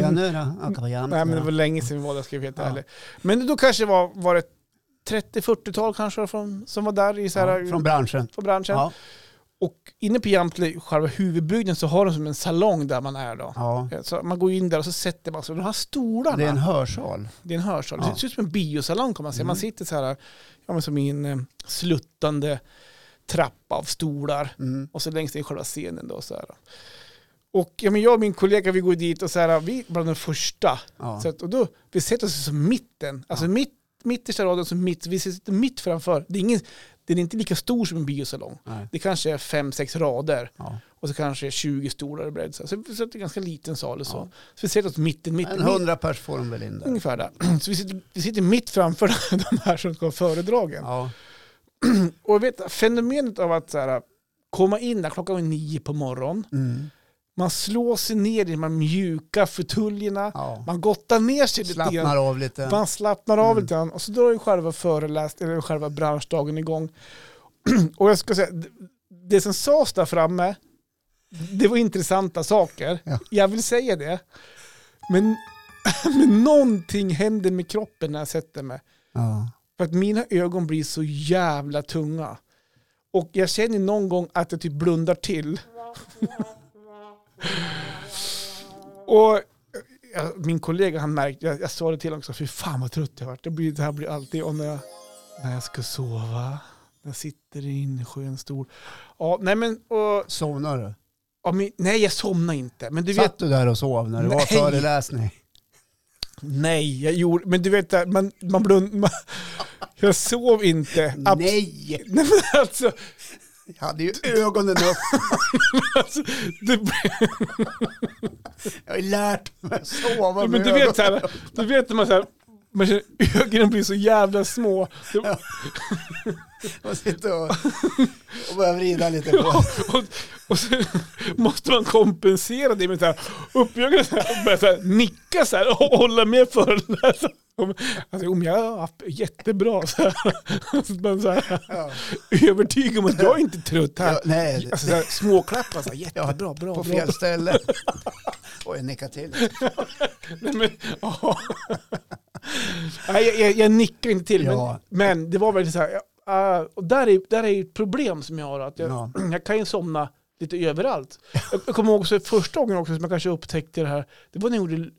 [SPEAKER 1] Ja, nu då? Ja, kom igen.
[SPEAKER 2] Nej, men det var länge sedan vi var där, ska jag vara helt
[SPEAKER 1] Ja.
[SPEAKER 2] ärlig. Men då kanske var, var det 30-40-tal kanske från, som var där i så här,
[SPEAKER 1] ja, från branschen.
[SPEAKER 2] från branschen.
[SPEAKER 1] Ja,
[SPEAKER 2] Och inne på Jamtli, själva huvudbygden, så har de som en salong där man är då.
[SPEAKER 1] ja.
[SPEAKER 2] Så man går in där och så sätter man sig. De här stolarna,
[SPEAKER 1] Det är en hörsal.
[SPEAKER 2] det är en hörsal.
[SPEAKER 1] Ja.
[SPEAKER 2] Det ser ut som en biosalong kan man säga.
[SPEAKER 1] Mm.
[SPEAKER 2] Man sitter så här, ja, men som i en eh, sluttande trappa av stolar.
[SPEAKER 1] Mm.
[SPEAKER 2] Och så längst ner i själva scenen då. Så här. Och ja, men jag och min kollega vi går dit och så här, vi är bland de första.
[SPEAKER 1] Ja.
[SPEAKER 2] Så att, och då, vi sätter oss i som mitten, alltså mitt, mittersta raden som mitt, vi sitter mitt framför. Det är ingen, den är inte lika stor som en biosalong.
[SPEAKER 1] Nej.
[SPEAKER 2] Det kanske är fem, sex rader
[SPEAKER 1] Ja.
[SPEAKER 2] och så kanske är 20 stolar i bredd. Så, här. så vi sitter i en ganska liten sal och så.
[SPEAKER 1] Ja.
[SPEAKER 2] Så vi sätter oss mitten, mitten,
[SPEAKER 1] En
[SPEAKER 2] mitten
[SPEAKER 1] hundra pers får de väl in där.
[SPEAKER 2] ungefär där. Så vi sitter, vi sitter mitt framför de här som ska ha föredragen.
[SPEAKER 1] Ja.
[SPEAKER 2] Och jag vet, fenomenet av att så här, komma in där klockan var nio på morgonen
[SPEAKER 1] Mm.
[SPEAKER 2] man slår sig ner i de här mjuka förtuljerna.
[SPEAKER 1] ja.
[SPEAKER 2] Man gottar ner sig lite
[SPEAKER 1] Slappnar
[SPEAKER 2] grann.
[SPEAKER 1] av lite.
[SPEAKER 2] Man slappnar av
[SPEAKER 1] Mm.
[SPEAKER 2] lite grann. Och så drar ju själva föreläst, eller själva branschdagen igång. Och jag ska säga, d- det som sades där framme, det var intressanta saker.
[SPEAKER 1] Ja.
[SPEAKER 2] Jag vill säga det. Men, men någonting händer med kroppen när jag sätter mig.
[SPEAKER 1] Ja.
[SPEAKER 2] För att mina ögon blir så jävla tunga. Och jag känner någon gång att jag typ blundar till. och ja, min kollega han märkte, jag, jag sa det till honom också, fy fan vad trött jag vart. Det, blir, det här blir alltid om när jag, när jag ska sova. När jag sitter i en skön stol. Ja, nej men, och,
[SPEAKER 1] Somnade du?
[SPEAKER 2] ja, men, nej jag somnar inte. Men du vet,
[SPEAKER 1] Satt du där och sov när det var
[SPEAKER 2] Nej.
[SPEAKER 1] föreläsning?
[SPEAKER 2] nej jag gjorde, men du vet, där, man, man blundar, man, jag sov inte. Abs-
[SPEAKER 1] Nej,
[SPEAKER 2] nej men alltså,
[SPEAKER 1] jag hade ju ögonen upp.
[SPEAKER 2] alltså det blev
[SPEAKER 1] Jag har ju lärt mig att sova
[SPEAKER 2] Ja,
[SPEAKER 1] med
[SPEAKER 2] men du
[SPEAKER 1] ögonen.
[SPEAKER 2] vet så här, du vet när man så här, man känner, ögonen blir så jävla små.
[SPEAKER 1] Ja. Och sitta och, och börja vrida lite på.
[SPEAKER 2] Och, och, och så måste man kompensera det med så här, upp ögonen så här, och börja så här, nicka så här och hålla med föreläsaren. Alltså, om jag har haft jättebra så här. Så att man så här,
[SPEAKER 1] Ja.
[SPEAKER 2] övertyga om att jag är inte är trött här.
[SPEAKER 1] Ja, nej,
[SPEAKER 2] Alltså så här, småklappa så här, jättebra, bra,
[SPEAKER 1] på
[SPEAKER 2] bra.
[SPEAKER 1] fel ställe. Oj, jag nickade till.
[SPEAKER 2] Nej, men, ja. Nej, jag, jag, jag nickar inte till,
[SPEAKER 1] Ja.
[SPEAKER 2] men, men det var väldigt så här, ja, äh, och där är, där är ju ett problem som jag har, att jag,
[SPEAKER 1] Ja.
[SPEAKER 2] jag kan ju somna lite överallt. Jag, jag kommer ihåg också, första gången också som jag kanske upptäckte det här, det var när jag gjorde,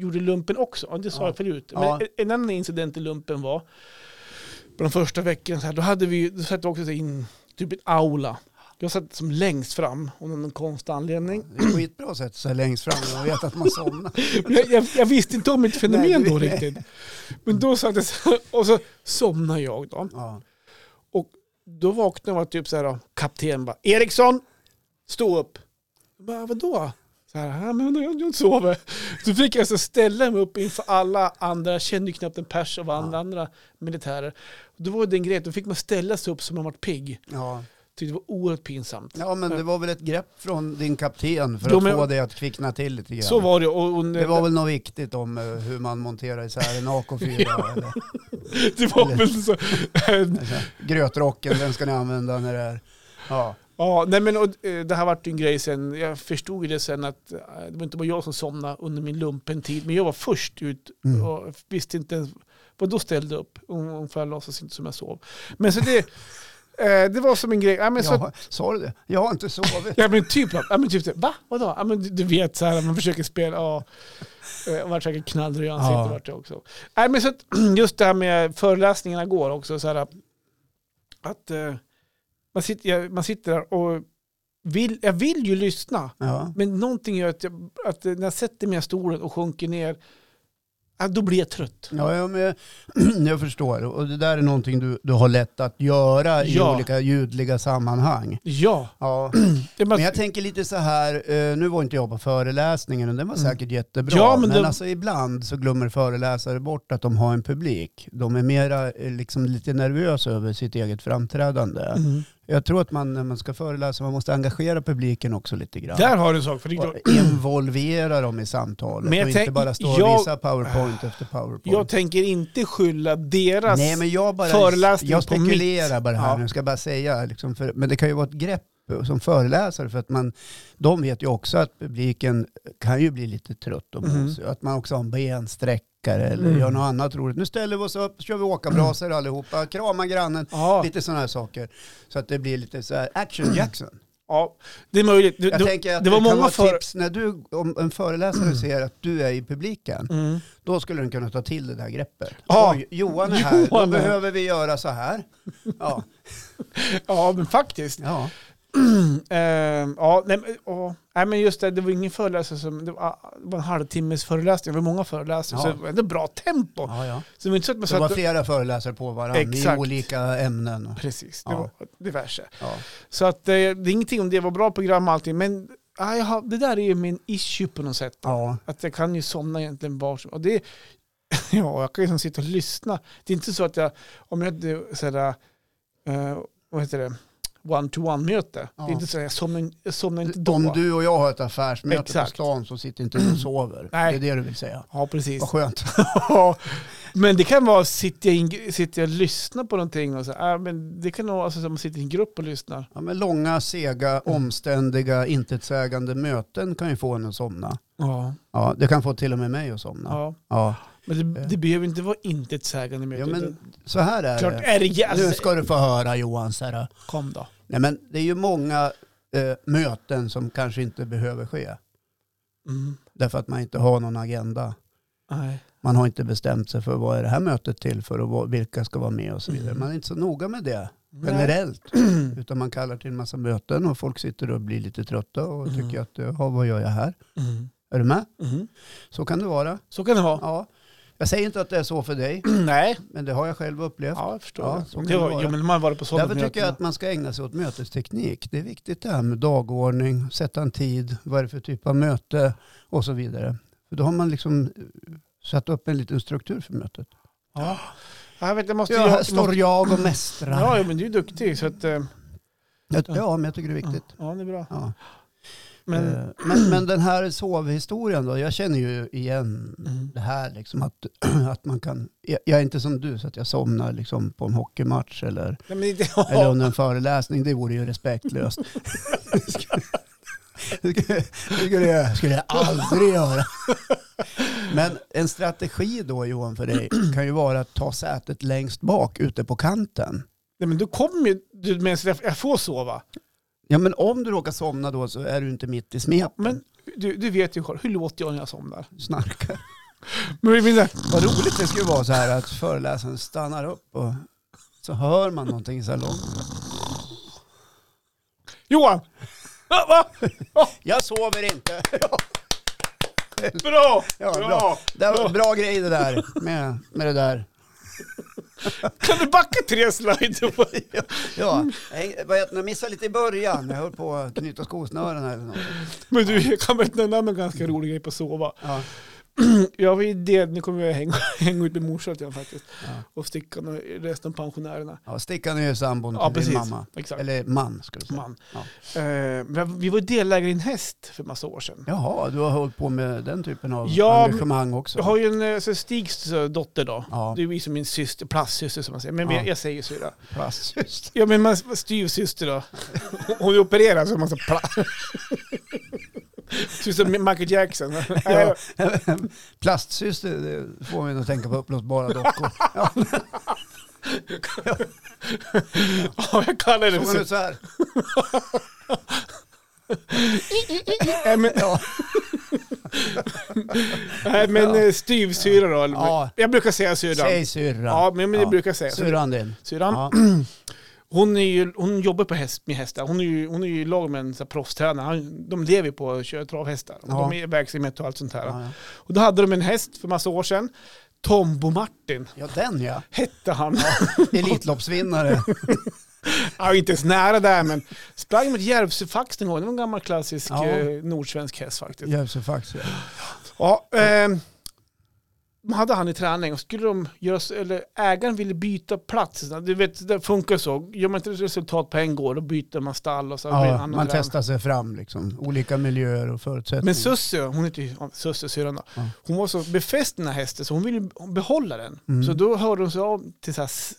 [SPEAKER 2] gjorde lumpen också, Ja, det sa
[SPEAKER 1] Ja.
[SPEAKER 2] jag förut. Men
[SPEAKER 1] Ja.
[SPEAKER 2] en, en annan incident i lumpen var, på de första veckorna, så här, då hade vi, ju- då satt vi också så här in typ en aula. Jag satt som längst fram, av någon konstig anledning.
[SPEAKER 1] Det är skitbra att sätta sig längst fram och veta att man somnar.
[SPEAKER 2] Men Jag, jag, jag visste inte om mitt fenomen
[SPEAKER 1] Nej,
[SPEAKER 2] då
[SPEAKER 1] du-
[SPEAKER 2] riktigt. Men då satt jag så här, och så somnade jag då.
[SPEAKER 1] Ja.
[SPEAKER 2] Då vaknade jag och var typ så här, då, kapten bara, Eriksson, stå upp. Jag bara, vadå? Så här, "Ja, men jag, jag sover. Så fick jag alltså ställa mig upp inför alla andra, jag kände ju knappt en pers av alla andra militärer. Då var det en grej, då fick man ställa sig upp som man varit pigg.
[SPEAKER 1] Ja.
[SPEAKER 2] Tyckte det var oerhört pinsamt.
[SPEAKER 1] ja, men det var väl ett grepp från din kapten för
[SPEAKER 2] Jo,
[SPEAKER 1] att
[SPEAKER 2] men-
[SPEAKER 1] få dig att kvickna till lite grann.
[SPEAKER 2] Så var det. Och, och,
[SPEAKER 1] Det var väl något viktigt om eh, hur man monterar isär en AK4 eller
[SPEAKER 2] det var väl så.
[SPEAKER 1] alltså, grötrocken, den ska ni använda när det är... Ja,
[SPEAKER 2] Ja, nej men och, eh, det här vart ju en grej sen. Jag förstod ju det sen att eh, det var inte bara jag som somnade under min lumpentid. Men jag var först ut
[SPEAKER 1] Mm.
[SPEAKER 2] och visste inte ens vad då ställde upp. Om- Ungefär låtsas inte som jag sov. Men så det, eh, det var som en grej. Ja, men,
[SPEAKER 1] jag,
[SPEAKER 2] så, att-
[SPEAKER 1] har- sa du det? Jag har inte sovit.
[SPEAKER 2] ja, men typ, ja, men typ så, va? Vadå? Ja, men du, du vet så här, man försöker spela. Ja. Eh, Jag vart säkert knallröd i ansiktet
[SPEAKER 1] Ja.
[SPEAKER 2] vart jag också. Nej, men så att, just det här med föreläsningarna går också. Så här, att eh, man, sitter, jag- man sitter där och vill, jag vill ju lyssna.
[SPEAKER 1] Ja.
[SPEAKER 2] Men någonting gör att, jag, att när jag sätter mig i stolen och sjunker ner, ja, då blir jag trött.
[SPEAKER 1] Ja, ja men jag, jag förstår. Och det där är någonting du, du har lätt att göra i
[SPEAKER 2] Ja.
[SPEAKER 1] olika ljudliga sammanhang.
[SPEAKER 2] Ja,
[SPEAKER 1] Ja.
[SPEAKER 2] det är bara-
[SPEAKER 1] Men jag tänker lite så här, eh, nu var inte jag på föreläsningen och den var
[SPEAKER 2] Mm.
[SPEAKER 1] säkert jättebra.
[SPEAKER 2] Ja, men
[SPEAKER 1] men
[SPEAKER 2] det-
[SPEAKER 1] alltså ibland så glömmer föreläsare bort att de har en publik. De är mera eh, liksom, lite nervösa över sitt eget framträdande.
[SPEAKER 2] Mm.
[SPEAKER 1] Jag tror att man när man ska föreläsa, man måste engagera publiken också lite grann.
[SPEAKER 2] Där har du en sak. För det är klart,
[SPEAKER 1] Och involvera dem i samtalet
[SPEAKER 2] Men jag
[SPEAKER 1] och inte
[SPEAKER 2] tänk-
[SPEAKER 1] bara stå och
[SPEAKER 2] jag-
[SPEAKER 1] visa powerpoint efter powerpoint.
[SPEAKER 2] jag tänker inte skylla deras...
[SPEAKER 1] Nej, men jag bara,
[SPEAKER 2] föreläsning
[SPEAKER 1] jag
[SPEAKER 2] på mitt.
[SPEAKER 1] spekulerar bara här
[SPEAKER 2] Ja.
[SPEAKER 1] nu, ska bara säga. Liksom för, men det kan ju vara ett grepp som föreläsare för att man, de vet ju också att publiken kan ju bli lite trött och
[SPEAKER 2] Mm.
[SPEAKER 1] mosig. Att man också har en bensträckare eller
[SPEAKER 2] Mm.
[SPEAKER 1] gör något annat roligt. Nu ställer vi oss upp, så kör vi åkarbrasor allihopa, kramar grannen,
[SPEAKER 2] Ja,
[SPEAKER 1] lite sådana här saker. Så att det blir lite så här action Jackson.
[SPEAKER 2] ja, det är möjligt. Det,
[SPEAKER 1] Jag
[SPEAKER 2] det-
[SPEAKER 1] tänker att det,
[SPEAKER 2] det var
[SPEAKER 1] kan
[SPEAKER 2] många
[SPEAKER 1] vara
[SPEAKER 2] för-
[SPEAKER 1] tips när du, om en föreläsare ser att du är i publiken,
[SPEAKER 2] Mm.
[SPEAKER 1] då skulle den kunna ta till det där greppet.
[SPEAKER 2] Ja.
[SPEAKER 1] Oj, Johan är här, då
[SPEAKER 2] Johan är här.
[SPEAKER 1] behöver vi göra så här. Ja,
[SPEAKER 2] Ja, men faktiskt.
[SPEAKER 1] ja.
[SPEAKER 2] Ehm, ja, nej, men, ja. nej, men just det, det var ingen föreläsare som... Det var, det var en halvtimmes föreläsning, det var många föreläsningar,
[SPEAKER 1] Ja.
[SPEAKER 2] så det var ändå bra tempo.
[SPEAKER 1] ja, ja.
[SPEAKER 2] Så det var inte så att man
[SPEAKER 1] Det var
[SPEAKER 2] satt... och-
[SPEAKER 1] flera föreläsare på varandra
[SPEAKER 2] Exakt.
[SPEAKER 1] i olika ämnen.
[SPEAKER 2] Precis, det
[SPEAKER 1] Ja.
[SPEAKER 2] var diverse.
[SPEAKER 1] Ja.
[SPEAKER 2] Så att, eh, det är ingenting om det var bra program och allting, men ja, jag har, det där är ju min issue på något sätt.
[SPEAKER 1] Ja.
[SPEAKER 2] Att jag kan ju somna egentligen var som... Och det, ja, jag kan ju liksom sitta och lyssna. Det är inte så att jag, om jag hade sådär, eh, vad heter det, one-to-one-möte.
[SPEAKER 1] Ja.
[SPEAKER 2] Det är inte så att jag somnar, jag somnar inte då.
[SPEAKER 1] Om du och jag har ett affärsmöte
[SPEAKER 2] Exakt.
[SPEAKER 1] på stan så sitter inte du och sover. Det
[SPEAKER 2] Nej.
[SPEAKER 1] är det du vill säga.
[SPEAKER 2] Ja, precis.
[SPEAKER 1] Vad skönt.
[SPEAKER 2] Ja, Men det kan vara, sitter jag, in, sitter jag och lyssnar på någonting och så, äh, men det kan vara alltså, som att sitta i en grupp och lyssnar.
[SPEAKER 1] Ja, men långa, sega,
[SPEAKER 2] Mm.
[SPEAKER 1] omständiga, intetsägande möten kan ju få en att somna.
[SPEAKER 2] Ja.
[SPEAKER 1] Ja, det kan få till och med mig att somna.
[SPEAKER 2] ja.
[SPEAKER 1] Ja. Eh.
[SPEAKER 2] Men det, det behöver inte vara intetsägande möte.
[SPEAKER 1] Ja,
[SPEAKER 2] utan-
[SPEAKER 1] men så här är
[SPEAKER 2] Klart
[SPEAKER 1] det.
[SPEAKER 2] är alltså- det
[SPEAKER 1] Nu
[SPEAKER 2] jävligt.
[SPEAKER 1] ska du få höra Johan. Så här.
[SPEAKER 2] Kom då.
[SPEAKER 1] Nej, men det är ju många eh, möten som kanske inte behöver ske.
[SPEAKER 2] Mm.
[SPEAKER 1] Därför att man inte har någon agenda.
[SPEAKER 2] Nej.
[SPEAKER 1] Man har inte bestämt sig för vad är det här mötet till för och vad- vilka ska vara med och så vidare.
[SPEAKER 2] Mm.
[SPEAKER 1] Man är inte så noga med det
[SPEAKER 2] Nej.
[SPEAKER 1] generellt.
[SPEAKER 2] Mm.
[SPEAKER 1] Utan man kallar till en massa möten och folk sitter och blir lite trötta och
[SPEAKER 2] Mm.
[SPEAKER 1] tycker att ja, vad gör jag här?
[SPEAKER 2] Mm.
[SPEAKER 1] Är du med?
[SPEAKER 2] Mm.
[SPEAKER 1] Så kan det vara.
[SPEAKER 2] Så kan det vara.
[SPEAKER 1] Ja. Jag säger inte att det är så för dig,
[SPEAKER 2] Nej,
[SPEAKER 1] men det har jag själv upplevt.
[SPEAKER 2] ja, jag förstår.
[SPEAKER 1] Ja,
[SPEAKER 2] det.
[SPEAKER 1] så kan
[SPEAKER 2] det
[SPEAKER 1] det
[SPEAKER 2] var,
[SPEAKER 1] vara.
[SPEAKER 2] ja, men man har varit på sådana
[SPEAKER 1] Därför tycker jag att man ska ägna sig åt mötesteknik. Det är viktigt det här med dagordning, sätta en tid, vad är det för typ av möte och så vidare. För då har man liksom eh, satt upp en liten struktur för mötet.
[SPEAKER 2] Ja. Ja, Jag vet, jag måste,
[SPEAKER 1] Ja, här
[SPEAKER 2] jag,
[SPEAKER 1] står jag och mästrar.
[SPEAKER 2] Ja, ja, men du är duktig. Så att, eh,
[SPEAKER 1] Ja, ja, men jag tycker det är viktigt.
[SPEAKER 2] ja, det är bra.
[SPEAKER 1] Ja.
[SPEAKER 2] Men,
[SPEAKER 1] Eh, Men, men den här sovhistorien då, jag känner ju igen
[SPEAKER 2] Mm.
[SPEAKER 1] det här liksom att, att man kan, jag, jag är inte som du så att jag somnar liksom på en hockeymatch eller,
[SPEAKER 2] nej, men inte,
[SPEAKER 1] eller under en föreläsning, det vore ju respektlöst. Det skulle- det skulle- det skulle jag, skulle jag aldrig göra. Men en strategi då Johan för dig kan ju vara att ta sätet längst bak ute på kanten.
[SPEAKER 2] nej, men du kommer ju, du menar jag, jag får sova.
[SPEAKER 1] Ja men om du råkar somna då så är du inte mitt i smeten.
[SPEAKER 2] Men du, du vet ju själv, hur låter jag när jag somnar?
[SPEAKER 1] Snarkar.
[SPEAKER 2] Men jag menar,
[SPEAKER 1] Vad roligt det skulle vara så här att föreläsaren stannar upp och så hör man någonting så här långt.
[SPEAKER 2] Johan! Ja, va?
[SPEAKER 1] Jag sover inte.
[SPEAKER 2] Bra!
[SPEAKER 1] Ja, bra. Det var bra grej det där med, med det där.
[SPEAKER 2] Kan du backa tre slider? på-
[SPEAKER 1] Ja, jag häng- vad heter det, jag missade lite i början. Jag höll på att knyta skosnören här eller något.
[SPEAKER 2] Men du, jag kan berätta en annan ganska rolig grej på sova.
[SPEAKER 1] Ja.
[SPEAKER 2] Jag var ju det, nu kommer jag hänga, hänga ut med morsan lite grann faktiskt.
[SPEAKER 1] Ja.
[SPEAKER 2] Och stickan och resten av pensionärerna.
[SPEAKER 1] Ja, stickan är ju sambon till
[SPEAKER 2] Ja,
[SPEAKER 1] din
[SPEAKER 2] precis.
[SPEAKER 1] mamma.
[SPEAKER 2] Exakt.
[SPEAKER 1] Eller man skulle jag säga.
[SPEAKER 2] Man.
[SPEAKER 1] Ja.
[SPEAKER 2] Eh, men vi var delägare i en häst för massa år sedan.
[SPEAKER 1] Jaha, du har hållit på med den typen av
[SPEAKER 2] Ja,
[SPEAKER 1] engagemang också.
[SPEAKER 2] Jag har ju en eh, så Stigs eh, dotter då.
[SPEAKER 1] Ja,
[SPEAKER 2] Det är ju som min syster, plastsyster som man säger. Men
[SPEAKER 1] Ja.
[SPEAKER 2] jag, jag säger syrra.
[SPEAKER 1] plast. Just.
[SPEAKER 2] Ja men man, styvsyster då. Hon är opererad så man säger plast. Ser ut Typ som Michael Jackson.
[SPEAKER 1] Ja. Plastsyster det får mig att tänka på upplösbara dockor. Ja,
[SPEAKER 2] Ja, jag kallar henne
[SPEAKER 1] såg hon
[SPEAKER 2] för
[SPEAKER 1] ut så här?
[SPEAKER 2] Nej men,
[SPEAKER 1] Ja.
[SPEAKER 2] nej, men eh, styvsyra då. Eller,
[SPEAKER 1] Ja.
[SPEAKER 2] Jag brukar säga syrran.
[SPEAKER 1] Säg syrran.
[SPEAKER 2] Ja, men, men det
[SPEAKER 1] Ja.
[SPEAKER 2] brukar jag säga. Mm. Så-
[SPEAKER 1] Syrran din.
[SPEAKER 2] Syrran.
[SPEAKER 1] Ja.
[SPEAKER 2] Hon, är ju, hon jobbar på häst, med hästar. Hon är ju, hon är ju i lag med en så här proffstränare. Han- De lever ju på att köra travhästar. Och
[SPEAKER 1] Ja.
[SPEAKER 2] De är i verksamhet och allt sånt här.
[SPEAKER 1] Ja, ja.
[SPEAKER 2] Och då hade de en häst för massa år sedan. Tombo Martin
[SPEAKER 1] ja, den ja.
[SPEAKER 2] hette han.
[SPEAKER 1] Elitloppsvinnare.
[SPEAKER 2] Ja, inte ens nära där, men sprang med Järvsöfax en gång. Det var en gammal klassisk
[SPEAKER 1] Ja.
[SPEAKER 2] eh, nordsvensk häst faktiskt.
[SPEAKER 1] Järvsöfax. ja.
[SPEAKER 2] Ja, ehm, de hade han i träning och skulle de göra, så- eller ägaren ville byta plats. Du vet, det funkar så. Gör man inte resultat på en gård, då byter man stall och så. blir det
[SPEAKER 1] Ja,
[SPEAKER 2] annan
[SPEAKER 1] man
[SPEAKER 2] tränare.
[SPEAKER 1] testar sig fram liksom. Olika miljöer och förutsättningar.
[SPEAKER 2] Men Sussie, hon heter ju ja, Sussie, syrran då,
[SPEAKER 1] Ja.
[SPEAKER 2] hon var så befäst den här hästen så hon ville behålla den.
[SPEAKER 1] Mm.
[SPEAKER 2] Så då hörde hon sig av till så här s-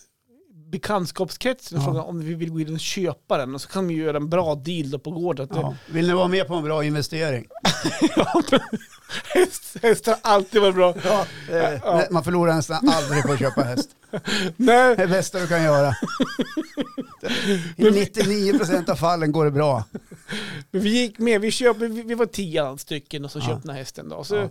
[SPEAKER 2] bekantskapskretsen och
[SPEAKER 1] Ja.
[SPEAKER 2] frågade om vi vill gå in och köpa den och så kan vi göra en bra deal då på gården. Att
[SPEAKER 1] ja. Vill ni vara med på en bra investering?
[SPEAKER 2] häst, hästar har alltid varit bra.
[SPEAKER 1] Ja, eh,
[SPEAKER 2] Ja.
[SPEAKER 1] nej, Man förlorar nästan aldrig på att köpa häst.
[SPEAKER 2] Nej,
[SPEAKER 1] Det är det bästa du kan göra. I 99% av fallen går det bra.
[SPEAKER 2] Men vi gick med, vi, köpte, vi, vi var tio stycken och så
[SPEAKER 1] Ja.
[SPEAKER 2] köpte den här hästen. Då. Så
[SPEAKER 1] Ja.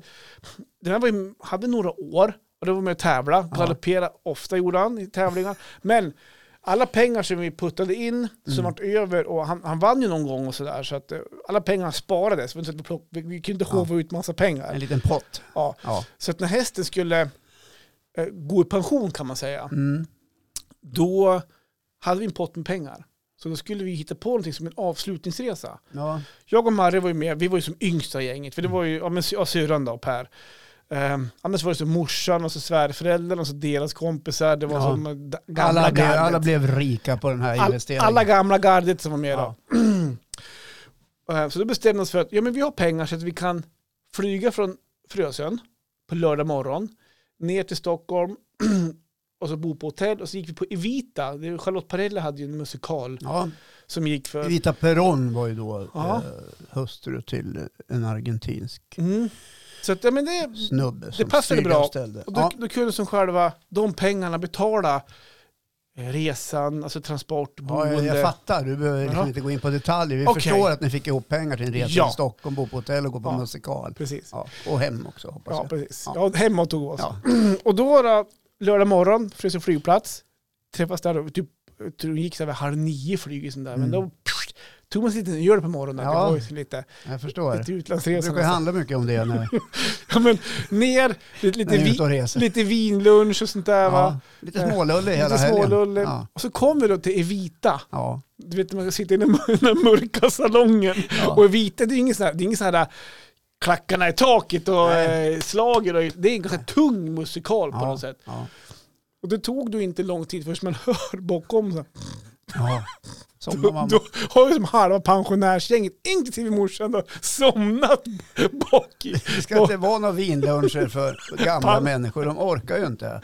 [SPEAKER 2] Den här var, ju- hade några år och då var med och tävla.
[SPEAKER 1] Ja.
[SPEAKER 2] Galoppera ofta gjorde han i tävlingar. Men alla pengar som vi puttade in,
[SPEAKER 1] Mm.
[SPEAKER 2] som vart över, och han, han vann ju någon gång och sådär. Så att eh, alla pengar sparades. Vi, vi, plock- vi, vi kunde inte
[SPEAKER 1] Ja. Mm.
[SPEAKER 2] håva ut massa pengar.
[SPEAKER 1] En liten pott.
[SPEAKER 2] Ja.
[SPEAKER 1] Ja.
[SPEAKER 2] Så att när hästen skulle eh, gå i pension kan man säga,
[SPEAKER 1] Mm.
[SPEAKER 2] då hade vi en pott med pengar. Så då skulle vi hitta på någonting som en avslutningsresa.
[SPEAKER 1] Ja.
[SPEAKER 2] Jag och Marre var ju med, vi var ju som yngsta gänget, för det var ju, ja men sy- ja, syrran då, Per. Um, annars var det så morsan och så svärföräldrarna och så deras kompisar, det var
[SPEAKER 1] Ja.
[SPEAKER 2] som eh, da- gamla
[SPEAKER 1] Alla, blev,
[SPEAKER 2] gardet.
[SPEAKER 1] alla blev rika på den här
[SPEAKER 2] All-
[SPEAKER 1] investeringen.
[SPEAKER 2] alla gamla gardet som var med
[SPEAKER 1] Ja.
[SPEAKER 2] då. Eh, så då bestämde vi oss för att, ja men vi har pengar så att vi kan flyga från Frösön på lördag morgon, ner till Stockholm, och så bo på hotell och så gick vi på Evita. Det är- Charlotte Perrelli hade ju en musikal
[SPEAKER 1] Ja,
[SPEAKER 2] som gick för...
[SPEAKER 1] Vita Perón var ju då
[SPEAKER 2] Ja.
[SPEAKER 1] eh, hustru till en argentinsk
[SPEAKER 2] Mm. Så att, ja, men det,
[SPEAKER 1] snubbe som
[SPEAKER 2] passade
[SPEAKER 1] styrde och
[SPEAKER 2] bra.
[SPEAKER 1] ställde.
[SPEAKER 2] och då,
[SPEAKER 1] Ja.
[SPEAKER 2] då kunde som själva de pengarna betala eh, resan, alltså transport,
[SPEAKER 1] Ja,
[SPEAKER 2] boende.
[SPEAKER 1] jag, jag fattar, du behöver liksom
[SPEAKER 2] Jaha.
[SPEAKER 1] inte gå in på detaljer. Vi
[SPEAKER 2] Okej.
[SPEAKER 1] förstår att ni fick ihop pengar till en resa
[SPEAKER 2] Ja.
[SPEAKER 1] till Stockholm, bo på hotell och gå på
[SPEAKER 2] Ja.
[SPEAKER 1] musikal.
[SPEAKER 2] Precis.
[SPEAKER 1] Ja. Och hem också hoppas
[SPEAKER 2] Ja,
[SPEAKER 1] jag.
[SPEAKER 2] precis.
[SPEAKER 1] Ja.
[SPEAKER 2] Ja, hemma tog oss.
[SPEAKER 1] Ja.
[SPEAKER 2] Och då, då lördag morgon, Frösö flygplats, träffas där och typ, jag tror det gick så här vid halv nio flyg sånt där, men
[SPEAKER 1] Mm.
[SPEAKER 2] då pssst, tog man sig lite öl på morgonen.
[SPEAKER 1] Ja.
[SPEAKER 2] Det var ju så lite,
[SPEAKER 1] Jag förstår.
[SPEAKER 2] lite
[SPEAKER 1] Det
[SPEAKER 2] utlandsresa.
[SPEAKER 1] brukar ju handla mycket om det när,
[SPEAKER 2] Ja, men ner, lite,
[SPEAKER 1] när
[SPEAKER 2] lite,
[SPEAKER 1] ni är ute
[SPEAKER 2] vi,
[SPEAKER 1] och reser.
[SPEAKER 2] lite vinlunch och sånt där
[SPEAKER 1] ja.
[SPEAKER 2] va. Eh,
[SPEAKER 1] Lite smålullig hela
[SPEAKER 2] Lite
[SPEAKER 1] helgen.
[SPEAKER 2] smålulle.
[SPEAKER 1] Ja.
[SPEAKER 2] Och så kom vi då till Evita.
[SPEAKER 1] Ja.
[SPEAKER 2] Du vet, man sitter i den den mörka salongen.
[SPEAKER 1] Ja.
[SPEAKER 2] Och Evita, det är ju ingen sån här, det är ingen sån här äh, klackarna i taket och
[SPEAKER 1] Nej.
[SPEAKER 2] eh, slager. Och, det är en ganska tung musikal på
[SPEAKER 1] Ja.
[SPEAKER 2] något sätt.
[SPEAKER 1] Ja.
[SPEAKER 2] Och det tog då inte lång tid förrän man hör bakom sig.
[SPEAKER 1] Ja. Som
[SPEAKER 2] Då,
[SPEAKER 1] man,
[SPEAKER 2] då har ju som halva pensionärsgänget, inklusive morsan, då, somnat bak i.
[SPEAKER 1] det ska inte vara några vinluncher för gamla
[SPEAKER 2] Pan-
[SPEAKER 1] människor, de orkar ju inte.